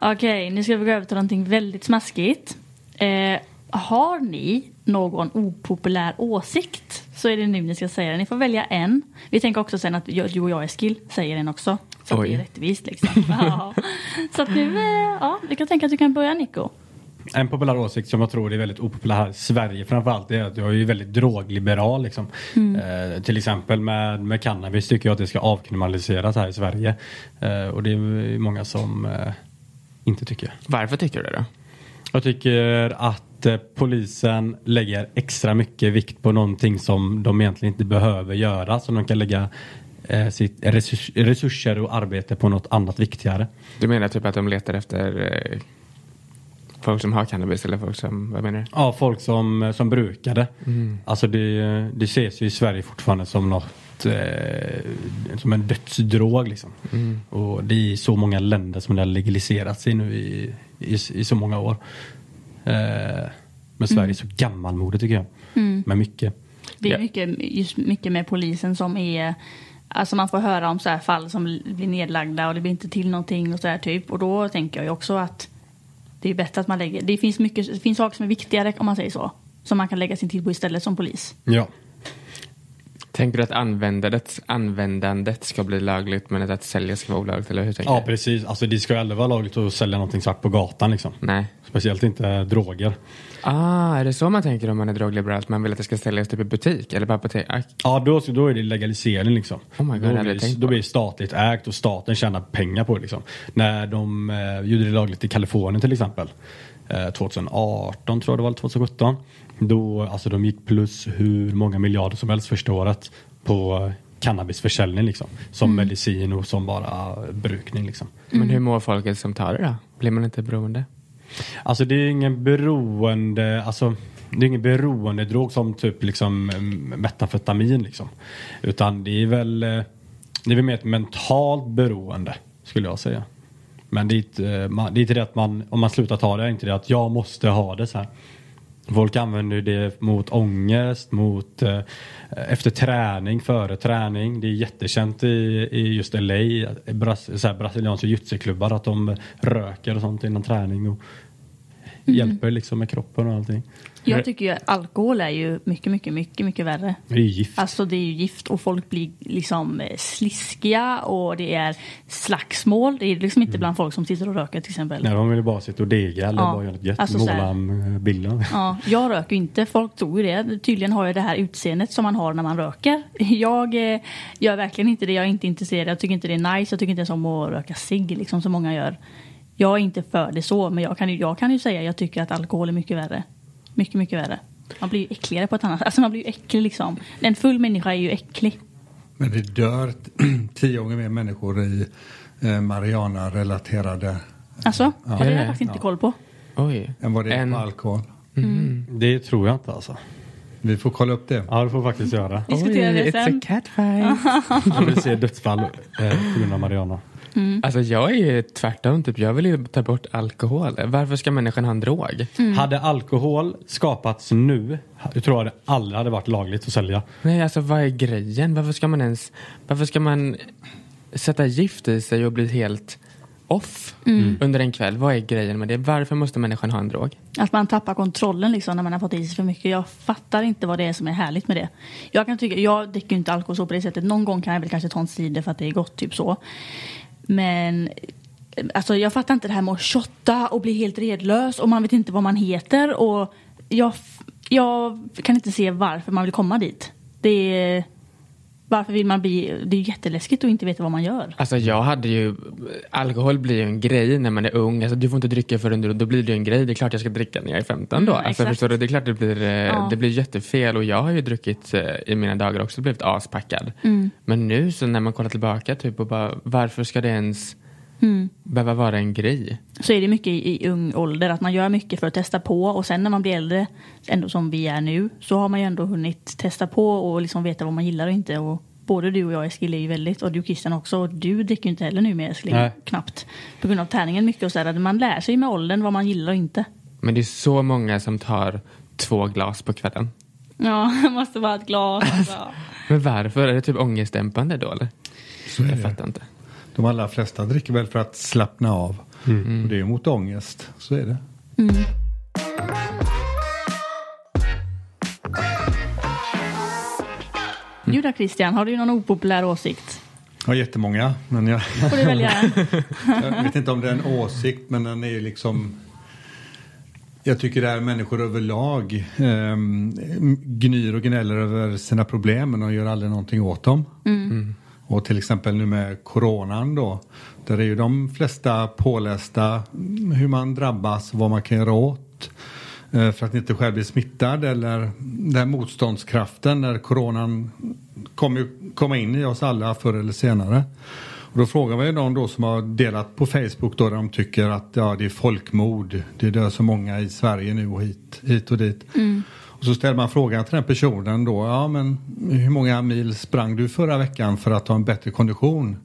S2: Okej, nu ska vi gå över till någonting väldigt smaskigt. Eh, har ni någon opopulär åsikt så är det nu ni ska säga den. Ni får välja en. Vi tänker också sen att jag- du och jag, Eskil, säger den också. Så att det
S1: Oj.
S2: är rättvist liksom. ja. Så att nu, eh, ja, vi kan tänka att du kan börja Nico.
S3: En populär åsikt som jag tror är väldigt opopulär här i Sverige framförallt är att jag är ju väldigt drogliberal. Liksom. Eh, till exempel med, med cannabis tycker jag att det ska avkriminaliseras här i Sverige. Eh, och det är ju många som eh, inte tycker.
S1: Varför tycker du det då?
S3: Jag tycker att eh, polisen lägger extra mycket vikt på någonting som de egentligen inte behöver göra. Så de kan lägga eh, sitt resurs- resurser och arbete på något annat viktigare.
S1: Du menar typ att de letar efter eh, folk som har cannabis eller folk som, vad menar du?
S3: Ja, folk som, eh, som brukade. Alltså det, det ses ju i Sverige fortfarande som något eh, som en dödsdrog liksom. Och det är i så många länder som det har legaliserats i nu i, i, i så många år. Eh, men Sverige är så gammalmodigt tycker jag. Med mycket.
S2: Det är
S1: Ja.
S2: mycket, just mycket med polisen som är Alltså man får höra om så här fall som blir nedlagda och det blir inte till någonting och så här typ. Och då tänker jag ju också att det är bättre att man lägger, det finns, mycket, det finns saker som är viktigare om man säger så. Som man kan lägga sin tid på istället som polis.
S3: Ja.
S1: Tänker du att användandet, användandet ska bli lagligt men att, att sälja ska vara olagligt eller hur tänker
S3: ja,
S1: du?
S3: precis. Alltså det ska ju aldrig vara lagligt att sälja någonting svart på gatan liksom.
S1: Nej.
S3: Speciellt inte droger.
S1: Ah, är det så man tänker om man är drogliberal? Att man vill att det ska säljas typ i butik eller på apotek? Ah,
S3: Ja, då, då är det legalisering liksom.
S1: Oh my God,
S3: då,
S1: jag hade
S3: blir,
S1: tänkt på
S3: då
S1: det.
S3: blir det statligt ägt och staten tjänar pengar på det. Liksom. När de eh, gjorde det lagligt i Kalifornien till exempel. Eh, 2018 tror jag det var, eller 2017. Då, alltså de gick plus hur många miljarder som helst första året på eh, cannabisförsäljning liksom.
S1: Mm.
S3: Som medicin och som bara eh, brukning liksom.
S1: Men hur mår folket som tar det då? Blir man inte beroende?
S3: Alltså det är ingen beroende, alltså Det är ingen beroendedrog som typ liksom mm, metamfetamin liksom. Utan det är väl eh, det är väl mer ett mentalt beroende skulle jag säga. Men det är inte, eh, man- det, är inte det att man, om man slutar ta det, är inte det att jag måste ha det så här. Folk använder det mot ångest, mot eh, efter träning, före träning. Det är jättekänt i, i just LA, i Bras, så här, brasilianska jujutsu-klubbar att de röker och sånt innan träning och
S2: Mm.
S3: hjälper liksom med kroppen och allting.
S2: Jag tycker ju att alkohol är ju mycket, mycket, mycket, mycket värre.
S3: Det är ju gift.
S2: Alltså det är ju gift och folk blir liksom eh, sliskiga och det är slagsmål. Det är liksom inte bland folk som sitter och röker till exempel.
S3: Nej, de vill ju bara sitta och dega eller
S2: Ja,
S3: bara göra något gött.
S2: alltså så här.
S3: måla mm, bilden.
S2: Ja, jag röker ju inte. Folk tror ju det. Tydligen har jag det här utseendet som man har när man röker. Jag eh, gör verkligen inte det. Jag är inte intresserad. Jag tycker inte det är nice. Jag tycker inte ens om att röka cigg liksom som många gör. Jag är inte för det så, men jag kan, ju, jag kan ju säga att jag tycker att alkohol är mycket värre. Mycket, mycket värre. Man blir ju äckligare på ett annat sätt. Alltså man blir ju äcklig liksom. En full människa är ju äcklig.
S4: Men det dör t- tio gånger mer människor i eh, Mariana-relaterade
S2: Alltså,
S4: Ja.
S2: det har
S4: Är
S2: jag
S4: det?
S2: faktiskt inte
S4: Ja.
S2: koll på.
S1: Oj.
S4: än vad det är på alkohol.
S3: Det tror jag inte alltså.
S4: Vi får kolla upp det.
S3: Ja, det får vi faktiskt göra.
S2: Diskutera det
S1: it's
S2: sen.
S1: a catfight.
S3: Om vi ser dödsfall eh, på grund av Mariana.
S1: Alltså jag är ju tvärtom. Typ. Jag vill ju ta bort alkohol. Varför ska människan ha en drog?
S2: Mm.
S3: Hade alkohol skapats nu, jag tror jag det aldrig hade varit lagligt att sälja.
S1: Nej, alltså vad är grejen? Varför ska man ens... Varför ska man sätta gift i sig och bli helt off under en kväll? Vad är grejen med det? Varför måste människan ha en drog?
S2: Att man tappar kontrollen liksom när man har fått i sig för mycket. Jag fattar inte vad det är som är härligt med det. Jag kan tycka, jag dricker ju inte alkohol så på det sättet. Någon gång kan jag väl kanske ta en cider för att det är gott, typ så. Men eh, alltså, jag fattar inte det här med att shotta och bli helt redlös och man vet inte vad man heter. Och jag, f- jag kan inte se varför man vill komma dit. Det är, varför vill man bli... Det är ju jätteläskigt att inte veta vad man gör.
S1: Alltså jag hade ju... Alkohol blir ju en grej när man är ung. Alltså du får inte dricka förrän du... Då blir det ju en grej. Det är klart jag ska dricka när jag är 15 då.
S2: Mm,
S1: alltså
S2: exakt.
S1: förstår du? Det är klart det blir, eh,
S2: Ja.
S1: det blir jättefel. Och jag har ju druckit eh, i mina dagar också blivit aspackad.
S2: Mm.
S1: Men nu så när man kollar tillbaka typ och bara varför ska det ens
S2: Mm.
S1: behöva vara en grej?
S2: så är det mycket i, i ung ålder att man gör mycket för att testa på och sen när man blir äldre, ändå som vi är nu, så har man ju ändå hunnit testa på och liksom veta vad man gillar och inte. Och både du och jag Eskil är ju väldigt, och du Christian också, och du dricker ju inte heller nu med Eskil,
S3: Nej.
S2: knappt. På grund av tärningen mycket och så här, att man lär sig med åldern vad man gillar och inte.
S1: Men det är så många som tar två glas på kvällen.
S2: Ja, måste vara ett glas. alltså.
S1: Men varför? Är det typ ångestdämpande då eller? jag fattar inte.
S4: De allra flesta dricker väl för att slappna av. Och det är ju mot ångest, så är det.
S2: Du då Christian, har du någon opopulär åsikt?
S4: Jag har jättemånga, men jag,
S2: Får du välja en.
S4: jag vet inte om det är en åsikt, men den är ju liksom... Jag tycker det är människor överlag ehm, gnyr och gnäller över sina problem men de gör aldrig någonting åt dem. Och till exempel nu med coronan då. Där är ju de flesta pålästa mm, hur man drabbas, vad man kan göra åt. eh, För att inte själv bli smittad eller den här motståndskraften när coronan kommer ju komma in i oss alla förr eller senare. Och då frågar vi ju de då som har delat på Facebook då där de tycker att ja, det är folkmord. Det dör så många i Sverige nu och hit, hit och dit. Och så ställer man frågan till den personen då. Ja, men hur många mil sprang du förra veckan för att ha en bättre kondition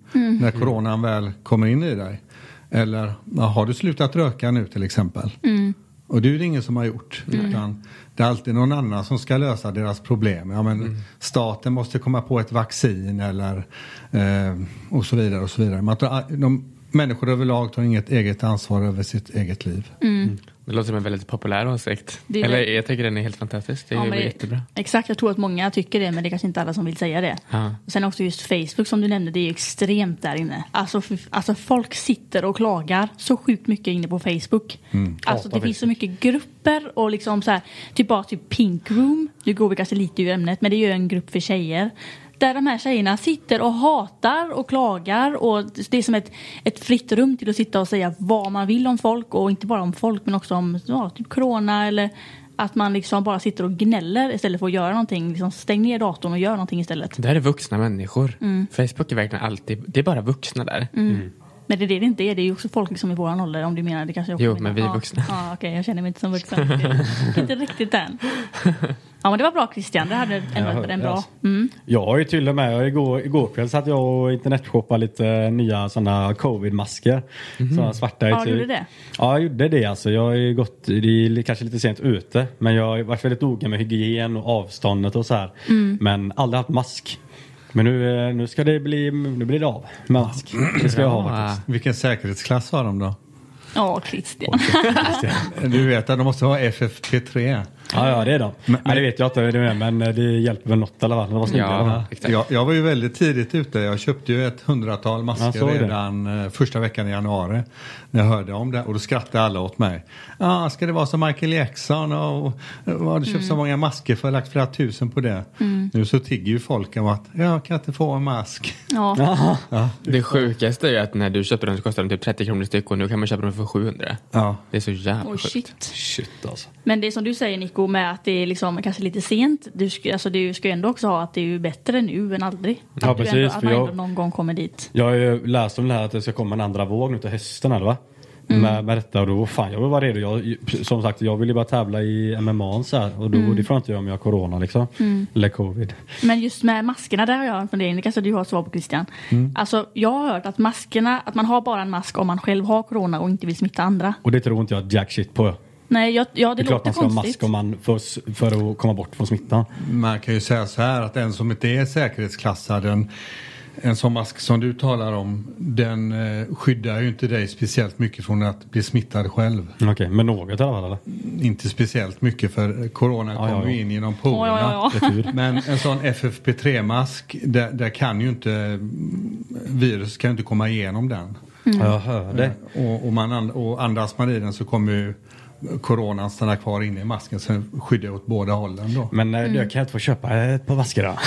S4: när coronan väl kommer in i dig? Eller ja, har du slutat röka nu till exempel? Och det är det ingen som har gjort. Utan det är alltid någon annan som ska lösa deras problem. Ja, men Staten måste komma på ett vaccin eller eh, och så vidare. och så vidare. Man tar, de, människor överlag tar inget eget ansvar över sitt eget liv.
S1: Det låter som en väldigt populär åsikt.
S2: Det är
S1: Eller
S2: väl-
S1: jag tycker den är helt fantastisk. Det är
S2: Ja, men det-
S1: jättebra.
S2: Exakt, jag tror att många tycker det men det är kanske inte alla som vill säga det.
S1: Ja.
S2: Och sen också just Facebook som du nämnde, det är ju extremt där inne. Alltså, f- alltså folk sitter och klagar så sjukt mycket inne på Facebook. Alltså det finns så mycket grupper och liksom så här, typ bara typ Pink Room, nu går vi kanske lite ur ämnet men det är ju en grupp för tjejer. Där de här tjejerna sitter och hatar och klagar och det är som ett, ett fritt rum till att sitta och säga vad man vill om folk och inte bara om folk men också om ja, typ corona eller att man liksom bara sitter och gnäller istället för att göra någonting. Liksom stäng ner datorn och gör någonting istället. Mm.
S1: Det här är vuxna människor. Facebook är verkligen alltid, det är bara vuxna där.
S2: Men det är det det inte är. Det är ju också folk liksom i våran ålder om du menar. Det kanske jag också
S1: Jo,
S2: menar.
S1: men vi är
S2: Ja.
S1: vuxna.
S2: Ja, okej, jag känner mig inte som vuxen. Det är inte riktigt än. Ja, men det var bra Christian. Det hade ändå varit
S3: hörde,
S2: en bra.
S3: alltså.
S2: Mm.
S3: Jag har ju till och med, igår, igår kväll satt jag och internetshoppade lite nya sådana covid-masker. Sådana svarta i
S2: Ja,
S3: tyg.
S2: gjorde det?
S3: Ja, jag gjorde det alltså. Jag har ju gått, det är li- kanske lite sent ute, men jag har varit väldigt noga med hygien och avståndet och så här.
S2: Mm.
S3: Men aldrig haft mask. Men nu, eh, nu ska det bli, nu blir det av med mask. Det ska jag ha
S4: Bra.
S3: faktiskt.
S4: Vilken säkerhetsklass har de då?
S2: Ja, Christian.
S4: Du vet att de måste ha FFP3.
S3: Ja, ja det är de. Men, det vet jag inte vad det är, men eh, det hjälper väl något i alla fall. Det var snyggt.
S4: Ja, jag, jag var ju väldigt tidigt ute. Jag köpte ju ett hundratal
S3: Jag
S4: masker
S3: såg det.
S4: redan eh, första veckan i januari. När jag hörde om det och då skrattade alla åt mig. Ah, ska det vara som Michael Jackson och, och vad har du köpt så
S9: Mm.
S4: många masker för? Lagt flera tusen på det.
S9: Mm.
S4: Nu så tigger ju folk om att jag kan inte få en mask.
S2: Ja.
S1: Det sjukaste är ju att när du köper dem så kostar de typ 30 kronor styck och nu kan man köpa dem för 700.
S4: Ja.
S1: Det är så jävla
S2: Oh,
S1: sjukt.
S2: shit.
S3: Shit alltså.
S2: Men det är som du säger Nico med att det är liksom kanske lite sent. Du ska, alltså, du ska ju ändå också ha att det är ju bättre nu än aldrig. Att
S3: Ja,
S2: du
S3: precis,
S2: Ändå, att
S3: för
S2: man
S3: jag-
S2: ändå någon gång kommer dit.
S3: Jag har ju läst om det här att det ska komma en andra våg nu till hösten eller va?
S2: Mm.
S3: Med, med detta och då, fan jag vill vara redo. Jag, som sagt jag vill ju bara tävla i MMA så här, och då,
S2: Mm.
S3: det får jag inte göra om jag har corona liksom.
S2: Mm.
S3: Eller covid.
S2: Men just med maskerna, där har jag en fundering. Det kanske du har svar på Christian.
S3: Mm.
S2: Alltså, jag har hört att maskerna, att man har bara en mask om man själv har corona och inte vill smitta andra.
S3: Och det tror inte jag jack shit på.
S2: Nej, jag, ja, det,
S3: är
S2: låter
S3: klart man ska ha
S2: konstigt.
S3: mask om man för, för att komma bort från smittan.
S4: Man kan ju säga så här att en som inte är säkerhetsklassad, en, en sån mask som du talar om, den eh, skyddar ju inte dig speciellt mycket från att bli smittad själv.
S3: Okej, men något i alla fall eller?
S4: Inte speciellt mycket för corona
S3: Ja, ja,
S4: kom ju
S3: ja.
S4: in genom porerna.
S3: Ja, ja, ja. Det är tur.
S4: Men en sån FFP3-mask, där, där kan ju inte mm, virus kan ju inte komma igenom den.
S3: Mm. Ja, jag hör det.
S4: Eh, Och, och, man and, och andas man i den så kommer ju coronan stanna kvar inne i masken så skyddar åt båda hållen då.
S3: Men eh,
S2: Mm. jag
S3: kan inte få köpa ett par masker då?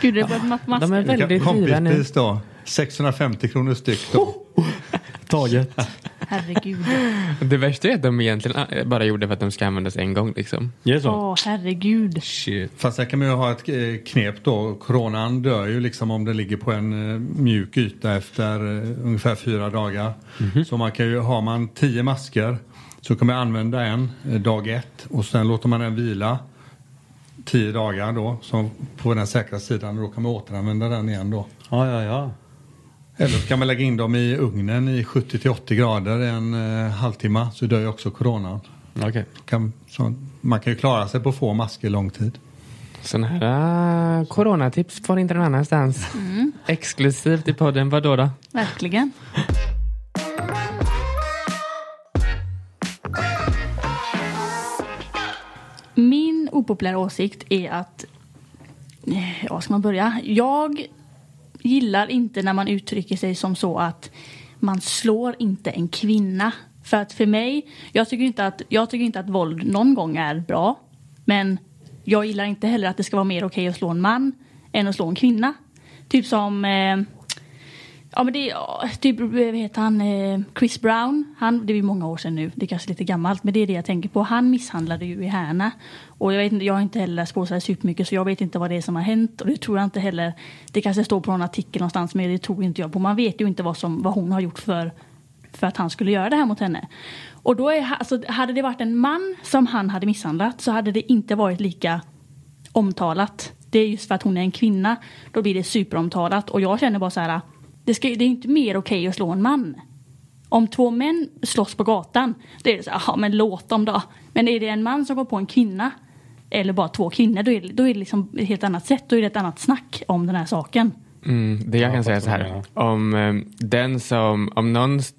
S2: Gud, det är bara ma- masker.
S4: Kompispris då. 650 kronor styck då.
S3: Taget.
S2: Herregud.
S1: Det värsta är att de egentligen eh, bara gjorde för att de ska användas en gång liksom.
S2: Åh, herregud.
S4: Fast där kan man ju ha ett eh, knep då. Coronan dör ju liksom om den ligger på en eh, mjuk yta efter eh, ungefär fyra dagar. Så man kan ju, har man tio masker så kan man använda en eh, dag ett och sen låter man den vila tio dagar då som på den säkra sidan och då kan man återanvända den igen då.
S3: Ja, ja, ja.
S4: Eller så kan man lägga in dem i ugnen i 70 till 80 grader en eh, halvtimme så dör ju också coronan.
S3: Okej.
S4: Kan, så, man kan ju klara sig på få masker lång tid.
S1: Sådana här uh, coronatips får ni inte någon annanstans.
S2: Mm,
S1: Exklusivt i podden, vadå då?
S2: verkligen. Min opopulära åsikt är att, eh, ja ska man börja? Jag gillar inte när man uttrycker sig som så att man slår inte en kvinna. För att för mig, jag tycker inte att, jag tycker inte att våld någon gång är bra. Men jag gillar inte heller att det ska vara mer okej att slå en man än att slå en kvinna. Typ som eh, Ja men det är ja, typ, vad heter han, eh, Chris Brown. Han, det är ju många år sedan nu, det är kanske lite gammalt men det är det jag tänker på. Han misshandlade ju i Härna. Och jag, vet, inte- jag har inte heller läst på så här supermycket så jag vet inte vad det är som har hänt. Och det tror jag inte heller, det kanske står på någon artikel någonstans men det tror inte jag på. Man vet ju inte vad, som, vad hon har gjort för, för att han skulle göra det här mot henne. Och då är, alltså, hade det varit en man som han hade misshandlat så hade det inte varit lika omtalat. Det är just för att hon är en kvinna. Då blir det superomtalat. Och jag känner bara så här. Det, ska, det är inte mer okej att slå en man. Om två män slåss på gatan. Det är det så här, "Jaha, men låt dem då. Men är det en man som går på en kvinna. Eller bara två kvinnor. Då är, det- då är det liksom ett helt annat sätt. Då är det ett annat snack om den här saken.
S1: Mm, det jag kan säga så här. Om, eh, den som, om någon, s-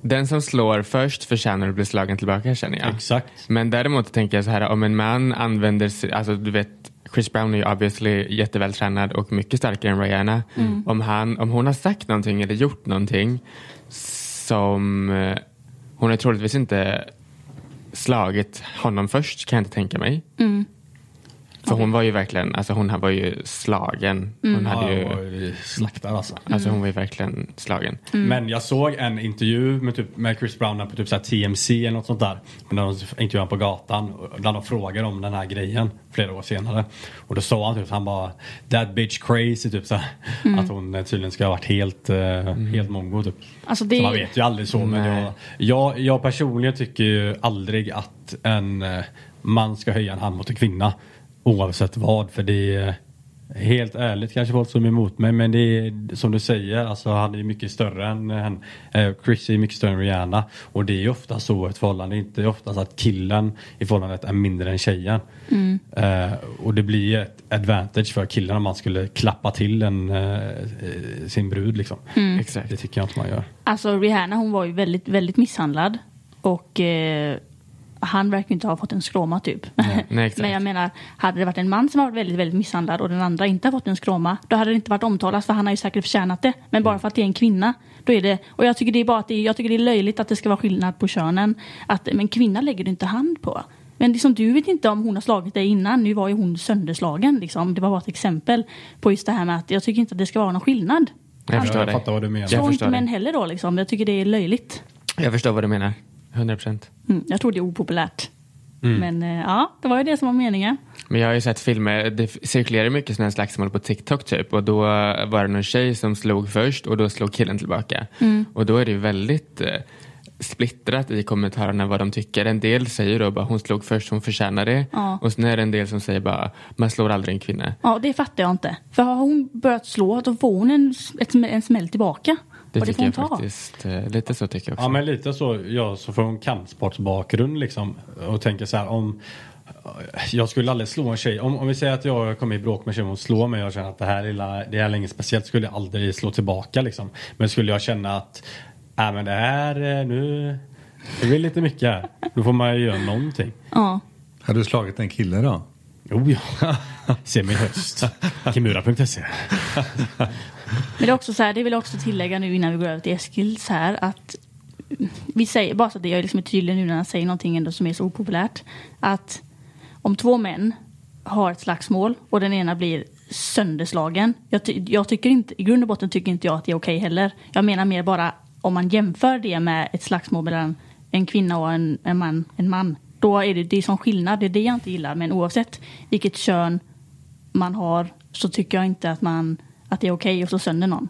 S1: den som slår först förtjänar att bli slagen tillbaka känner jag.
S3: Exakt.
S1: Men däremot tänker jag så här om en man använder, sig- alltså du vet Chris Brown är ju obviously jättevältränad och mycket starkare än Rihanna.
S10: Mm.
S1: Om, han, om hon har sagt någonting eller gjort någonting som eh, hon har troligtvis inte slagit honom först kan jag inte tänka mig.
S2: Mm.
S1: För hon var ju verkligen, alltså hon var ju slagen. Hon
S2: Mm.
S1: hade
S3: Ja,
S1: ju,
S3: slaktad alltså.
S1: alltså hon var ju verkligen slagen.
S2: Mm.
S3: Men jag såg en intervju med, typ, med Chris Brown på typ så här TMC eller något sånt där. Men de intervjuade han på gatan. och Där de frågade om den här grejen flera år senare. Och då sa han typ han bara That bitch crazy typ så här,
S2: Mm.
S3: Att hon eh, tydligen ska ha varit helt, eh, helt mongo typ.
S2: Alltså, det-
S3: Så man vet ju aldrig så. Men
S1: Nej.
S3: jag, jag, jag personligen tycker ju aldrig att en eh, man ska höja en hand mot en kvinna. Oavsett vad. För det är eh, Helt ärligt kanske folk som är emot mig men det är som du säger, alltså han är mycket större än henne. Eh, Chris är mycket större än Rihanna och det är ju ofta så i ett förhållande, inte oftast att killen i förhållandet är mindre än tjejen.
S2: Mm.
S3: Eh, och det blir ett advantage för killen om man skulle klappa till en, eh, eh, sin brud liksom.
S2: Mm.
S3: Exakt. Det tycker jag inte man gör.
S2: Alltså Rihanna hon var ju väldigt, väldigt misshandlad. Och eh, han verkar ju inte ha fått en skråma typ.
S1: Nej, exakt.
S2: Men jag menar, hade det varit en man som har varit väldigt, väldigt misshandlad och den andra inte har fått en skråma, då hade det inte varit omtalat för han har ju säkert förtjänat det. Men bara för att det är en kvinna, då är det... Och jag tycker det är, bara att det, är- jag tycker det är löjligt att det ska vara skillnad på könen. Att, men kvinna lägger du inte hand på. Men liksom, du vet inte om hon har slagit dig innan. Nu var ju hon sönderslagen. Liksom. Det var bara ett exempel på just det här med att jag tycker inte att det ska vara någon skillnad.
S1: Jag förstår
S3: jag
S1: dig.
S3: fattar vad du menar.
S1: Jag
S2: Slå
S1: förstår,
S2: inte män
S1: dig.
S2: heller då liksom. Jag tycker det är löjligt.
S1: jag förstår vad du menar. 100 procent.
S2: Mm, jag tror det är opopulärt.
S1: Mm.
S2: Men eh, ja, det var ju det som var meningen.
S1: Men jag har ju sett filmer, det cirkulerar mycket sådana här slagsmål på TikTok typ och då var det någon tjej som slog först och då slog killen tillbaka.
S2: Mm.
S1: Och då är det ju väldigt eh, splittrat i kommentarerna vad de tycker. En del säger då bara hon slog först, hon förtjänar det.
S2: Ja.
S1: Och sen är det en del som säger bara man slår aldrig en kvinna.
S2: Ja, det fattar jag inte. För har hon börjat slå, då får hon en, ett, en smäll tillbaka.
S1: Det
S2: och det
S1: tycker
S2: får hon
S1: jag
S2: ta.
S1: faktiskt, eh, lite så tycker jag också.
S3: Ja men lite så, ja, så från kampsportsbakgrund liksom. Och tänker så här om jag skulle aldrig slå en tjej. Om, om vi säger att jag kommer i bråk med en tjej och hon slår mig och jag känner att det här, lilla, det här är inget speciellt skulle jag aldrig slå tillbaka liksom. Men skulle jag känna att äh, men det här eh, nu, det blir lite mycket här. Då får man ju göra någonting.
S2: Ja.
S11: Hade du slagit en kille då?
S3: Jo ja, se mig i höst. Kimura.se
S2: Men det är också så här, det vill jag också tillägga nu innan vi går över till Eskils här att vi säger, bara så att det- jag liksom är tydlig nu när han säger någonting ändå som är så opopulärt, att om två män har ett slagsmål och den ena blir sönderslagen. Jag, ty- jag tycker inte, i grund och botten tycker inte jag att det är okej heller. Jag menar mer bara om man jämför det med ett slagsmål mellan en kvinna och en, en, man, en man. Då är det, det är som skillnad, det är det jag inte gillar. Men oavsett vilket kön man har så tycker jag inte att, man, att det är okej att slå sönder någon.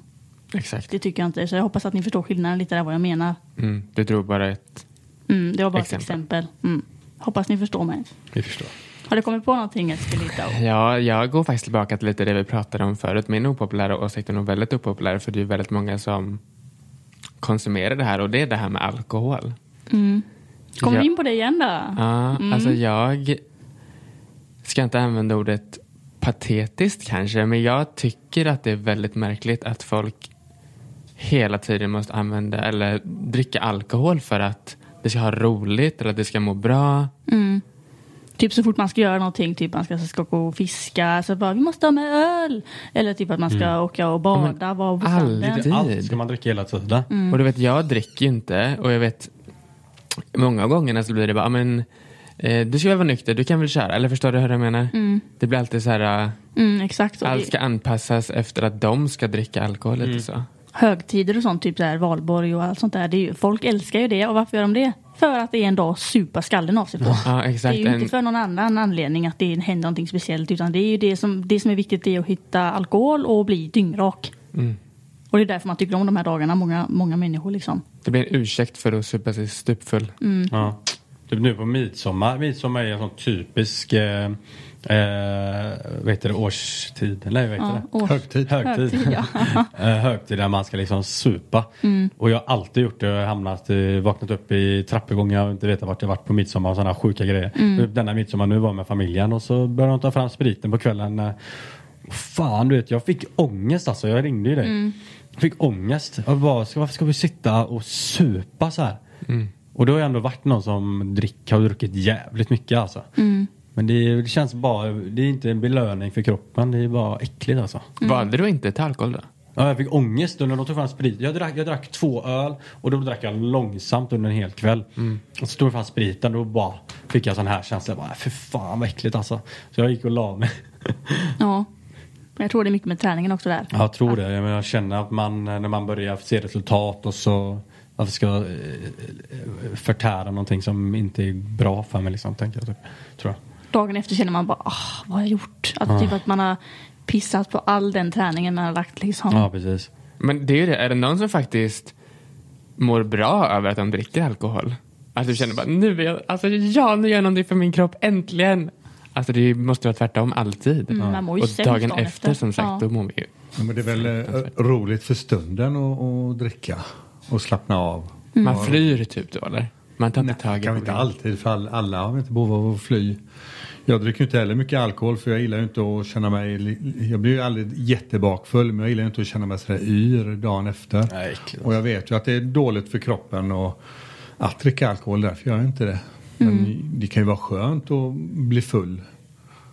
S1: Exakt.
S2: Det tycker jag inte. Så jag hoppas att ni förstår skillnaden lite där vad jag menar.
S1: Mm, du drog bara ett...
S2: Mm, det var bara ett
S1: Exempel.
S2: exempel. Mm. Hoppas ni förstår mig.
S3: Vi förstår.
S2: Har du kommit på någonting Eskelita?
S1: Ja, jag går faktiskt tillbaka till lite det vi pratade om förut. Min opopulära åsikt är nog väldigt opopulär för det är ju väldigt många som konsumerar det här och det är det här med alkohol.
S2: Mm. Kommer
S1: Ja.
S2: vi in på det igen då?
S1: Ja,
S2: Mm.
S1: alltså jag ska inte använda ordet patetiskt kanske, men jag tycker att det är väldigt märkligt att folk hela tiden måste använda eller dricka alkohol för att det ska ha roligt eller att det ska må bra.
S2: Mm. Typ så fort man ska göra någonting, typ man ska, ska gå och fiska, så bara vi måste ha med öl. Eller typ att man ska åka och bada, vara på stranden.
S1: Mm. aldrig.
S3: Allt ska man dricka hela tiden.
S2: Mm.
S1: Och du vet, jag dricker ju inte och jag vet många gånger så blir det bara, "Ah, men eh, du ska väl vara nykter, du kan väl köra, eller förstår du hur jag menar?
S2: Mm.
S1: Det blir alltid så här, eh,
S2: Mm, exakt. Och
S1: allt ska
S2: det,
S1: anpassas efter att de ska dricka alkohol lite så.
S2: högtider och sånt, typ så här, valborg och allt sånt där. Det är ju, folk älskar ju det och varför gör de det? För att det är en dag att supa skallen av sig på.
S1: Ja,
S2: Det är
S1: exakt.
S2: ju inte
S1: En-
S2: för någon annan anledning att det händer någonting speciellt utan det är ju det som, det som är viktigt det är att hitta alkohol och bli dyngrak.
S1: Mm.
S2: Och det är därför man tycker om de här dagarna, många, många människor liksom.
S1: Det blir en ursäkt för att supa sig stupfull.
S2: Mm.
S3: Ja. Typ nu på midsommar. Midsommar är en sån typisk eh, eh, vad heter det, årstid. Nej, vad heter
S2: Ja, års-
S3: det? Högtid. Högtid.
S2: Högtid, ja.
S3: Eh, högtid där man ska liksom supa.
S2: Mm.
S3: Och jag har alltid gjort det. Jag har hamnat, eh, vaknat upp i trappuppgångar och inte vetat vart jag varit på midsommar och sådana sjuka grejer.
S2: Mm.
S3: Typ Denna midsommar nu var jag med familjen och så började de ta fram spriten på kvällen. eh, Fan du vet, jag fick ångest alltså. Jag ringde ju dig.
S2: Mm.
S3: Jag fick ångest. Jag bara, "Ska- varför ska vi sitta och supa så här? Och då har jag ändå varit någon som drick, har druckit jävligt mycket alltså.
S2: Mm.
S3: Men det, är- det känns bara, det är inte en belöning för kroppen. Det är bara äckligt alltså.
S1: Valde du inte att ta alkohol då?
S3: Ja, jag fick ångest då när de tog fram sprit. Jag drack, jag drack två öl och då drack jag långsamt under en hel kväll. Och så tog jag fram spriten och bara fick jag sån här känsla. Jag bara, för fan vad äckligt alltså. Så jag gick och la mig.
S2: Ja. Jag tror det är mycket med träningen också där.
S3: Jag tror det. Jag, menar, jag känner att man eh, när man börjar se resultat och så varför ska jag eh, förtära någonting som inte är bra för mig liksom, tänker jag. Typ. Tror jag.
S2: Dagen efter känner man bara, ah, vad har jag gjort? Att,
S3: Ja.
S2: Typ att man har pissat på all den träningen man har lagt liksom.
S1: Ja,
S3: precis.
S1: Men det är ju det, är det någon som faktiskt mår bra över att de dricker alkohol? Att du känner bara, nu är jag, alltså ja, nu gör jag någonting för min kropp, äntligen! Alltså det måste vara tvärtom alltid.
S2: Mm, man mår ju
S1: och
S2: sämst
S1: dagen efter,
S2: dagen efter.
S1: som sagt,
S2: Ja. Mm.
S1: då mår vi ju.
S4: Ja, men det är väl eh, roligt för stunden att, att dricka och slappna av.
S1: Mm. Man flyr typ då eller? Man tar inte tag i
S4: kan vi inte alltid för all- alla har vi inte behov av att fly. Jag dricker ju inte heller mycket alkohol för jag gillar ju inte att känna mig, li- jag blir ju aldrig jättebakfull men jag gillar ju inte att känna mig sådär yr dagen efter.
S3: Nej, äckligt.
S4: och jag vet ju att det är dåligt för kroppen och att dricka alkohol därför gör jag inte det. Men det kan ju vara skönt att bli full.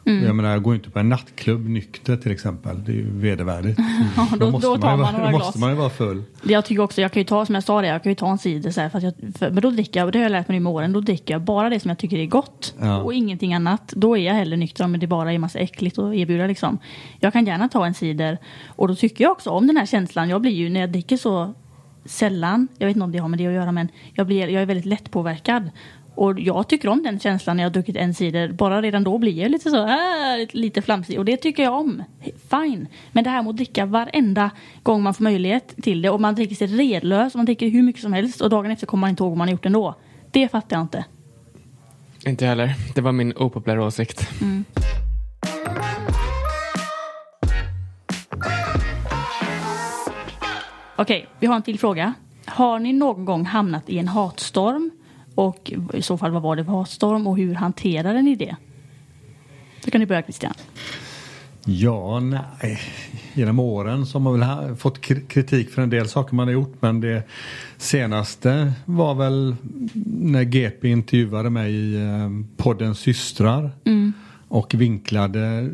S2: Mm.
S4: Och Jag menar jag går ju inte på en nattklubb nykter till exempel, det är ju vedervärdigt.
S2: Ja, då- då tar
S4: ju
S2: man
S4: vara-
S2: några
S4: då
S2: glas.
S4: måste man ju vara full.
S2: Det Jag tycker också, jag kan ju ta som jag sa det, jag kan ju ta en cider så här, för att jag, för, men då dricker jag, och det har jag lärt mig nu med åren, då dricker jag bara det som jag tycker är gott
S12: Ja.
S2: och ingenting annat. Då är jag hellre nykter om det bara är massa äckligt att erbjuda liksom. Jag kan gärna ta en cider och då tycker jag också om den här känslan. Jag blir ju, när jag dricker så sällan, jag vet inte om det har med det att göra men jag, blir, jag är väldigt lättpåverkad. Och jag tycker om den känslan när jag har druckit en cider. Bara redan då blir jag lite så här, lite flamsig. Och det tycker jag om. Fine. Men det här med att dricka varenda gång man får möjlighet till det. Och man dricker sig redlös. och Man dricker hur mycket som helst. Och dagen efter kommer man inte ihåg vad man har gjort ändå. Det fattar jag inte.
S1: Inte jag heller. Det var min opopulära åsikt.
S2: Mm. Okej, vi har en till fråga. Har ni någon gång hamnat i en hatstorm? Och i så fall, vad var det för hatstorm och hur hanterade ni det? Då kan ni börja Christian.
S4: Ja, nej. Genom åren så har man väl ha- fått kri- kritik för en del saker man har gjort men det senaste var väl när GP intervjuade mig i eh, podden Systrar
S12: Mm.
S4: och vinklade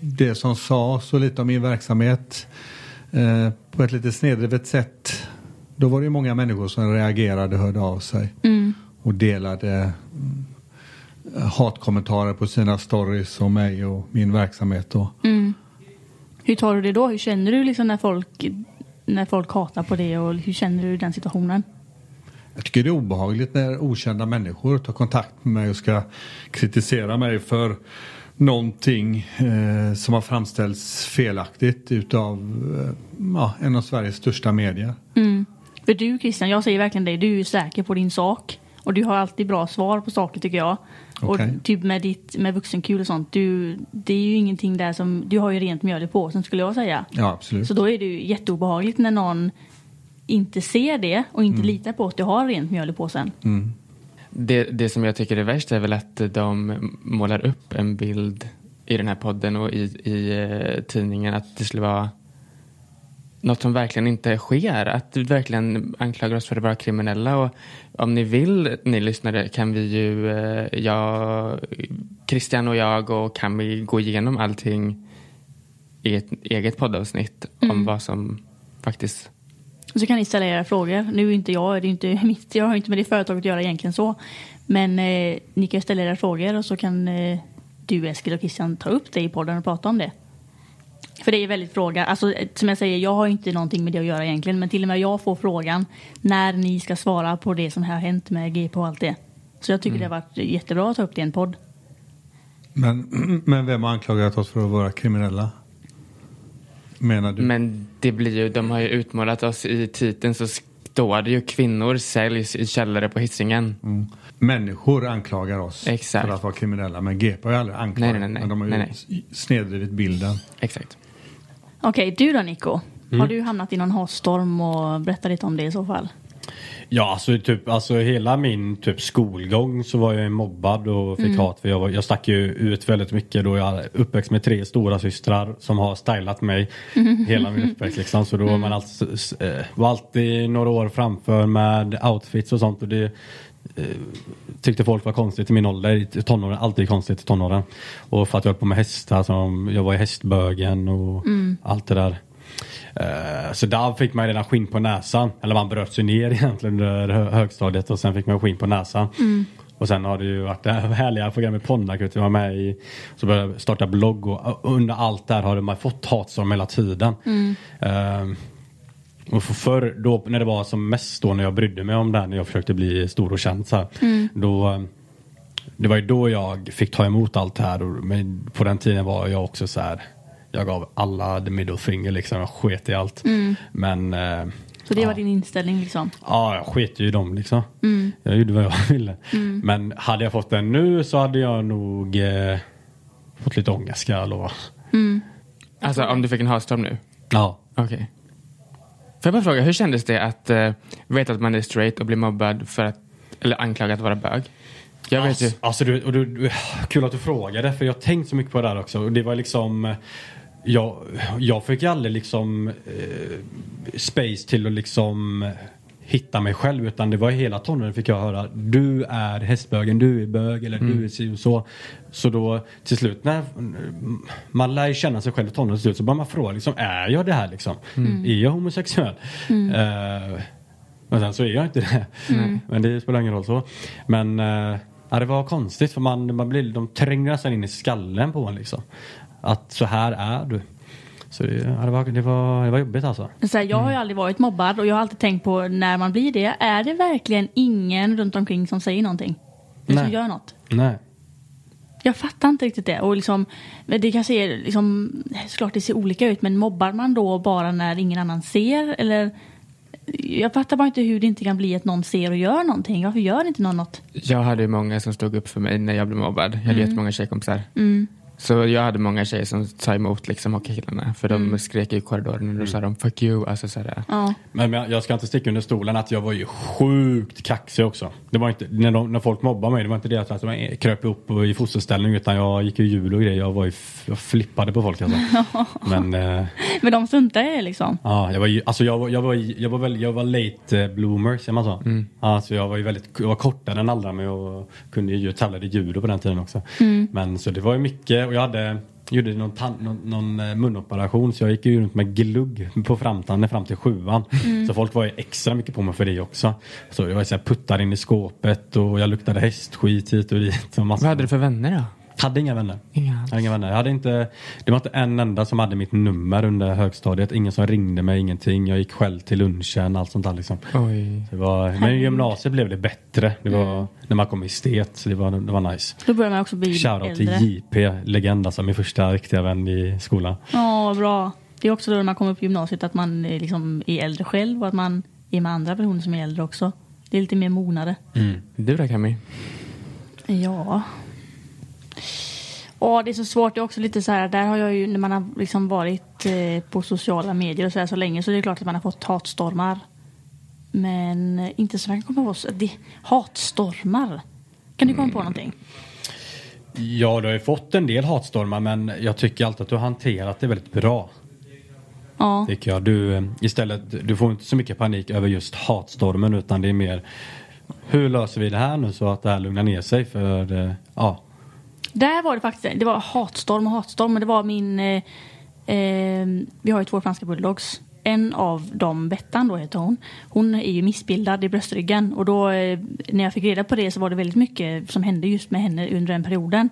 S4: det som sades och lite om min verksamhet eh, på ett lite snedrivet sätt. Då var det ju många människor som reagerade och hörde av sig
S12: Mm.
S4: och delade mm, hatkommentarer på sina stories om mig och min verksamhet. Och
S2: Mm. Hur tar du det då? Hur känner du liksom när folk, när folk hatar på det och hur känner du i den situationen?
S4: jag tycker det är obehagligt när okända människor tar kontakt med mig och ska kritisera mig för någonting eh, som har framställts felaktigt utav eh, ja, en av Sveriges största medier.
S2: Mm. För du Christian, jag säger verkligen det, du är ju säker på din sak. Och du har alltid bra svar på saker tycker jag.
S4: Okej.
S2: Och typ med ditt med vuxenkul och sånt, du, det är ju ingenting där som, du har ju rent mjöl i påsen skulle jag säga.
S4: Ja, absolut.
S2: Så då är det ju jätteobehagligt när någon inte ser det och inte litar på att du har rent mjöl i påsen.
S1: Det, det som jag tycker är värst är väl att de målar upp en bild i den här podden och i, i eh, tidningen att det skulle vara något som verkligen inte sker. Att du verkligen anklagar oss för att vara kriminella. Och om ni vill, ni lyssnare, kan vi ju, eh, jag, Christian och jag och Camille gå igenom allting i ett eget poddavsnitt om
S2: Mm.
S1: vad som faktiskt
S2: Och så kan ni ställa era frågor. Nu är inte jag, det är inte mitt, jag har inte med det företaget att göra egentligen så. Men eh, ni kan ställa era frågor och så kan eh, du Eskil och Christian ta upp det i podden och prata om det. För det är väldigt fråga, alltså eh, som jag säger, jag har inte någonting med det att göra egentligen. Men till och med jag får frågan när ni ska svara på det som har hänt med GP och allt det. Så jag tycker
S4: Mm.
S2: det har varit jättebra att ta upp det i en podd.
S4: Men, men vem har anklagat oss för att vara kriminella? Menar du?
S1: Men det blir ju, de har ju utmålat oss i titeln så står det ju kvinnor säljs i källare på Hisingen.
S4: Mm. Människor anklagar oss
S1: Exakt.
S4: för att vara kriminella men GP har ju aldrig anklagat.
S1: Nej, nej, nej.
S4: men de har ju
S1: Nej,
S4: snedrivit bilden.
S1: Exakt.
S2: Okej, du då Nico?
S3: Mm.
S2: Har du hamnat i någon hatstorm och berätta lite om det i så fall?
S3: Ja, alltså, typ, alltså hela min typ, skolgång så var jag mobbad och fick
S2: Mm.
S3: hat. För jag, var, jag stack ju ut väldigt mycket då jag är uppväxt med tre stora systrar som har stylat mig
S12: Mhm.
S3: hela min uppväxt. Liksom. Så då var man alltid, s- eh, var alltid några år framför med outfits och sånt. Och det, eh, tyckte folk var konstigt i min ålder, i tonåren, alltid konstigt i tonåren. Och för att jag höll på med hästar, som, jag var i hästbögen och
S12: Mm.
S3: allt det där. Eh, Så där fick man redan skinn på näsan. Eller man bröt sig ner egentligen under hö- högstadiet och sen fick man skinn på näsan.
S12: Mm.
S3: Och sen har det ju varit det här härliga programmet Ponnakut. Jag var med i, så började jag starta blogg och under allt där har man fått hatstorm hela tiden.
S2: Mm.
S3: Ehm, och för förr, då, när det var som mest då när jag brydde mig om det här, när jag försökte bli stor och känd så här,
S2: Mm.
S3: då, eh, Det var ju då jag fick ta emot allt det här. Och, men på den tiden var jag också så här, jag gav alla the middle finger liksom, jag sket i allt.
S2: Mm.
S3: Men eh,
S2: Så det var din inställning liksom?
S3: ja, jag sket ju i dem liksom.
S2: Mm.
S3: Jag gjorde vad jag ville.
S2: Mm.
S3: Men hade jag fått den nu så hade jag nog eh, fått lite ångest ska jag lova.
S2: Mm.
S1: Alltså om du fick en hatstorm nu?
S3: Ja.
S1: Okej. Får jag bara fråga, hur kändes det att eh, veta att man är straight och bli mobbad för att, eller anklagad att vara bög? Jag vet ju.
S3: Alltså, alltså du, och du, du, kul att du frågade för jag har tänkt så mycket på det här också. Och det var liksom, eh, jag, jag fick ju aldrig liksom eh, space till att liksom eh, hitta mig själv utan det var hela tonåren fick jag höra du är hästbögen, du är bög eller du
S1: Mm.
S3: är si och så. Så då till slut när man lär ju känna sig själv i tonåren till slut så börjar man fråga liksom är jag det här liksom?
S1: Mm.
S3: Är jag homosexuell?
S1: Mm.
S3: Eh, men sen så är jag inte det.
S1: Mm.
S3: Men det spelar ingen roll så. Men eh, ja, det var konstigt för man, man blir, de tränger nästan in i skallen på en liksom. Att så här är du. Så det, ja, det, var, det, var, det var jobbigt alltså.
S2: Så här, jag har ju aldrig varit mobbad och jag har alltid tänkt på när man blir det, är det verkligen ingen runt omkring som säger någonting? Eller som
S3: Nej.
S2: gör något?
S3: Nej.
S2: Jag fattar inte riktigt det. Och liksom, det kanske är liksom, såklart det ser olika ut men mobbar man då bara när ingen annan ser? Eller, jag fattar bara inte hur det inte kan bli att någon ser och gör någonting. Varför gör inte någon något?
S1: Jag hade ju många som stod upp för mig när jag blev mobbad. Jag hade
S2: Mm.
S1: jättemånga tjejkompisar.
S2: Mm.
S1: Så jag hade många tjejer som sa emot liksom hockeykillarna. För de
S2: Mm.
S1: skrek i korridoren och då sa de fuck you. Alltså sådär.
S2: Ja.
S3: Men jag, jag ska inte sticka under stolen att jag var ju sjukt kaxig också. Det var inte, när, de, när folk mobbade mig, det var inte det att jag kröp upp i fosterställning utan jag gick ju jul och grejer. Jag, var ju, f- jag flippade på folk alltså. Men, eh,
S2: Men de struntar i det liksom.
S3: Ja, jag var ju, alltså jag var, jag var, jag var, väl, jag var late eh, bloomer, säger man så? Mm. Alltså jag var ju väldigt, jag var kortare än alla men jag kunde ju tävla i judo på den tiden också.
S2: Mm.
S3: Men så det var ju mycket och jag hade, gjorde någon, tand, någon, någon eh, munoperation så jag gick ju runt med glugg på framtanden fram till sjuan.
S4: Mm.
S3: Så folk var ju extra mycket på mig för det också. Så jag var ju så här puttad in i skåpet och jag luktade hästskit hit och dit. Och massa. Vad hade
S1: du för vänner då?
S3: Hade inga vänner.
S1: Inga.
S3: Jag hade inga vänner. Jag hade inte, det var inte en enda som hade mitt nummer under högstadiet. Ingen som ringde mig, ingenting. Jag gick själv till lunchen, allt sånt där liksom.
S1: Oj.
S3: Det var, men i gymnasiet blev det bättre. Det var när man kom i estet, så det var, det var nice.
S2: Då börjar man också bli
S3: Shoutout till
S2: äldre.
S3: JP, legend alltså, min första riktiga vän i skolan.
S2: Ja, bra. Det är också då när man kommer upp i gymnasiet att man är, liksom, är äldre själv och att man är med andra personer som är äldre också. Det är lite mer mognare.
S1: Du då Cammy?
S2: Ja. Ja, det är så svårt. Det är också lite så här, där har jag ju, när man har liksom varit eh, på sociala medier och så här så länge så är det klart att man har fått hatstormar. Men eh, inte så man kan komma på. Så, det, hatstormar? Kan du komma på någonting?
S3: Ja, du har ju fått en del hatstormar men jag tycker alltid att du har hanterat det väldigt bra.
S2: Ja.
S3: Tycker jag. Du, eh, istället, du får inte så mycket panik över just hatstormen utan det är mer hur löser vi det här nu så att det här lugnar ner sig för eh, ja.
S2: Där var det faktiskt, det var hatstorm och hatstorm, men det var min... Eh, eh, vi har ju två franska bulldogs. En av dem, Bettan då heter hon, hon är ju missbildad i bröstryggen och då eh, när jag fick reda på det så var det väldigt mycket som hände just med henne under den perioden.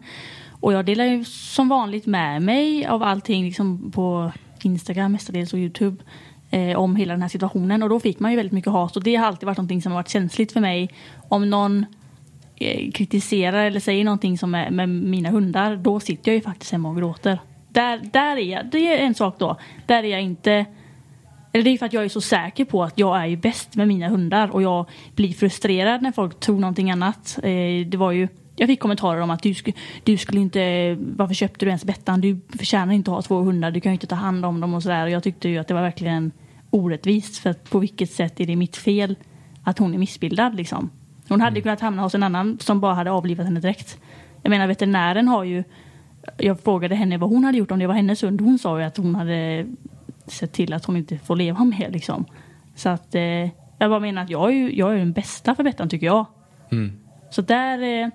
S2: Och jag delar ju som vanligt med mig av allting liksom på Instagram mestadels och Youtube eh, om hela den här situationen och då fick man ju väldigt mycket hat och det har alltid varit någonting som har varit känsligt för mig. Om någon eh, kritiserar eller säger någonting som är med mina hundar, då sitter jag ju faktiskt hemma och gråter. Där, där är jag, det är en sak då. Där är jag inte... Eller det är ju för att jag är så säker på att jag är ju bäst med mina hundar och jag blir frustrerad när folk tror någonting annat. Eh, det var ju... Jag fick kommentarer om att du, sk- du skulle inte... Varför köpte du ens Bettan? Du förtjänar inte att ha två hundar. Du kan ju inte ta hand om dem och sådär. Och jag tyckte ju att det var verkligen orättvist. För att på vilket sätt är det mitt fel att hon är missbildad liksom? Hon hade kunnat hamna hos en annan som bara hade avlivat henne direkt. Jag menar veterinären har ju... Jag frågade henne vad hon hade gjort om det var hennes hund. Hon sa ju att hon hade sett till att hon inte får leva mer liksom. Så att eh, jag bara menar att jag är ju jag är den bästa för Bettan tycker jag. Så där... eh,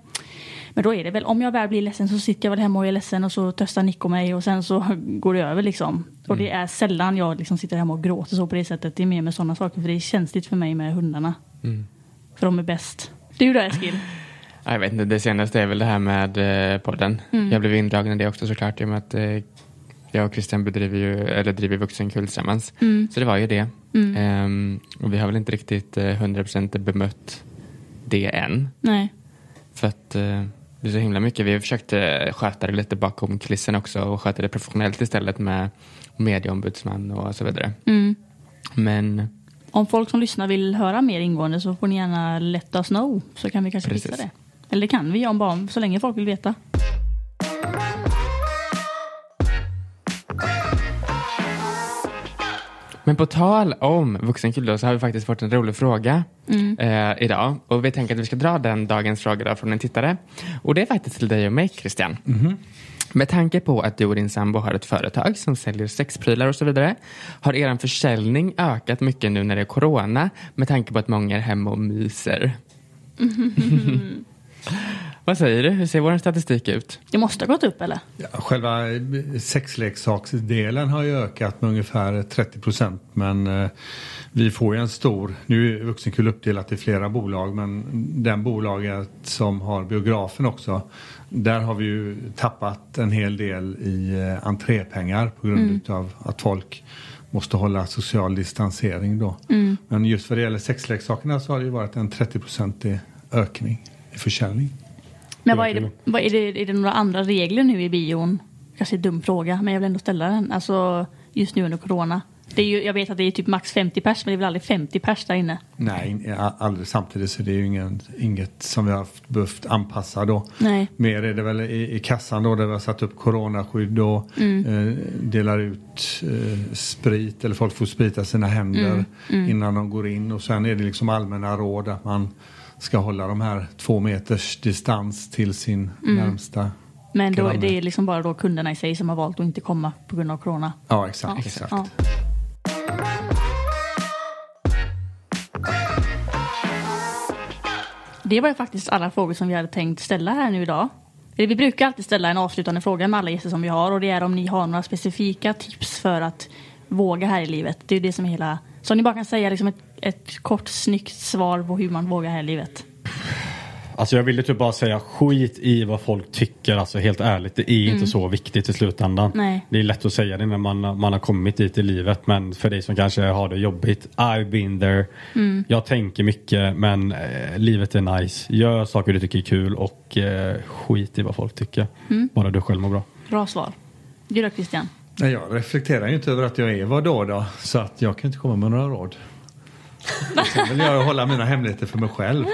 S2: Men då är det väl, om jag väl blir ledsen så sitter jag väl hemma och är ledsen och så tröstar Nico mig och sen så går det över liksom. Och det är sällan jag liksom sitter hemma och gråter så på det sättet. Det är mer med sådana saker för det är känsligt för mig med hundarna. För de är bäst. Du då Eskil?
S1: Ja, Jag vet inte, det senaste är väl det här med eh, podden.
S2: Mm.
S1: Jag blev indragen i det också såklart i och med att eh, jag och Christian bedriver ju, eller driver Vuxenkull tillsammans.
S2: Mm.
S1: Så det var ju det.
S2: Mm.
S1: Ehm, och vi har väl inte riktigt eh, 100% bemött det än.
S2: Nej.
S1: För att eh, det är så himla mycket. Vi försökte sköta det lite bakom kulissen också och sköta det professionellt istället med medieombudsman och så vidare.
S2: Mm.
S1: Men
S2: Om folk som lyssnar vill höra mer ingående så får ni gärna let us know så kan vi kanske
S1: Precis.
S2: fixa det. Eller det kan vi om bara, så länge folk vill veta.
S1: Men på tal om vuxenkul då, så har vi faktiskt fått en rolig fråga
S2: Mm.
S1: eh, idag. Och vi tänker att vi ska dra den dagens fråga då från en tittare. Och det är faktiskt till dig och mig Christian. Med tanke på att du och din sambo har ett företag som säljer sexprylar och så vidare. Har er försäljning ökat mycket nu när det är corona med tanke på att många är hemma och myser? Vad säger du? Hur ser vår statistik ut?
S2: Det måste ha gått upp eller?
S4: Själva sexleksaksdelen har ju ökat med ungefär 30 procent men eh, vi får ju en stor, nu är Vuxenkul uppdelat i flera bolag men den bolaget som har biografen också där har vi ju tappat en hel del i eh, entrépengar på grund
S13: Mm.
S4: utav att folk måste hålla social distansering då.
S13: Mm.
S4: Men just vad det gäller sexleksakerna så har det ju varit en 30-procentig ökning i försäljning.
S2: Men vad är, det, vad är, det, är det några andra regler nu i bion? Kanske en dum fråga, men jag vill ändå ställa den. Alltså just nu under corona. Det är ju, jag vet att det är typ max 50 pers, men det är väl aldrig 50 pers där inne?
S4: Nej, a- aldrig samtidigt så det är ju ingen, inget som vi har haft, behövt anpassa då.
S2: Nej.
S4: Mer är det väl i, i kassan då där vi har satt upp coronaskydd och
S13: Mm.
S4: eh, delar ut eh, sprit eller folk får sprita sina händer
S13: Mm, mm.
S4: innan de går in och sen är det liksom allmänna råd att man ska hålla de här två meters distans till sin
S2: Mm.
S4: närmsta.
S2: Men då,
S4: granne.
S2: det är liksom bara då kunderna i sig som har valt att inte komma på grund av corona.
S4: Ja, exakt, exakt.
S2: Ja. Det var ju faktiskt alla frågor som vi hade tänkt ställa här nu idag. Eller Vi brukar alltid ställa en avslutande fråga med alla gäster som vi har och det är om ni har några specifika tips för att våga här i livet. Det är ju det som är hela... Så om ni bara kan säga liksom ett, ett kort snyggt svar på hur man vågar här i livet.
S3: Alltså jag ville typ bara säga skit i vad folk tycker. Alltså helt ärligt, det är
S2: Mm.
S3: inte så viktigt i slutändan.
S2: Nej.
S3: Det är lätt att säga det när man, man har kommit dit i livet. Men för dig som kanske har det jobbigt, I've been there.
S13: Mm.
S3: Jag tänker mycket men eh, livet är nice. Gör saker du tycker är kul och eh, skit i vad folk tycker.
S2: Mm.
S3: Bara du själv mår bra.
S2: Bra svar. Du då Christian?
S4: Nej, jag reflekterar ju inte över att jag är vad då då så att jag kan inte komma med några råd. Sen vill jag ju hålla mina hemligheter för mig själv.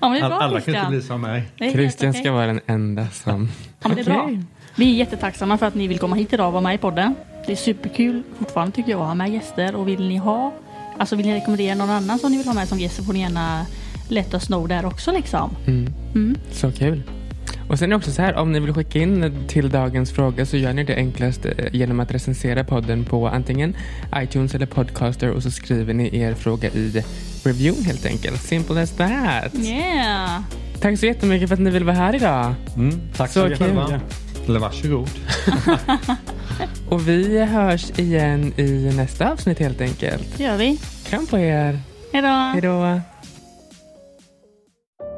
S2: Ja, men det är bra,
S4: All- alla kan
S2: Christian.
S4: inte bli som mig.
S2: Det är helt
S1: Christian
S2: okej.
S1: ska vara den enda som...
S2: Ja, men det är bra. Vi är jättetacksamma för att ni vill komma hit idag och vara med i podden. Det är superkul fortfarande tycker jag att ha med gäster och vill ni ha, alltså vill ni rekommendera någon annan som ni vill ha med som gäst så får ni gärna let us know där också liksom.
S1: Mm.
S2: Mm.
S1: Så kul. Och sen är det också så här, om ni vill skicka in till dagens fråga så gör ni det enklast eh, genom att recensera podden på antingen iTunes eller Podcaster och så skriver ni er fråga i reviewn helt enkelt. Simple as that.
S2: Yeah!
S1: Tack så jättemycket för att ni ville vara här idag.
S3: tack
S4: så
S1: kul.
S4: jättemycket. Eller varsågod.
S1: Och vi hörs igen i nästa avsnitt helt enkelt.
S2: Det gör vi.
S1: Kram på er.
S2: Hejdå!
S1: Hejdå.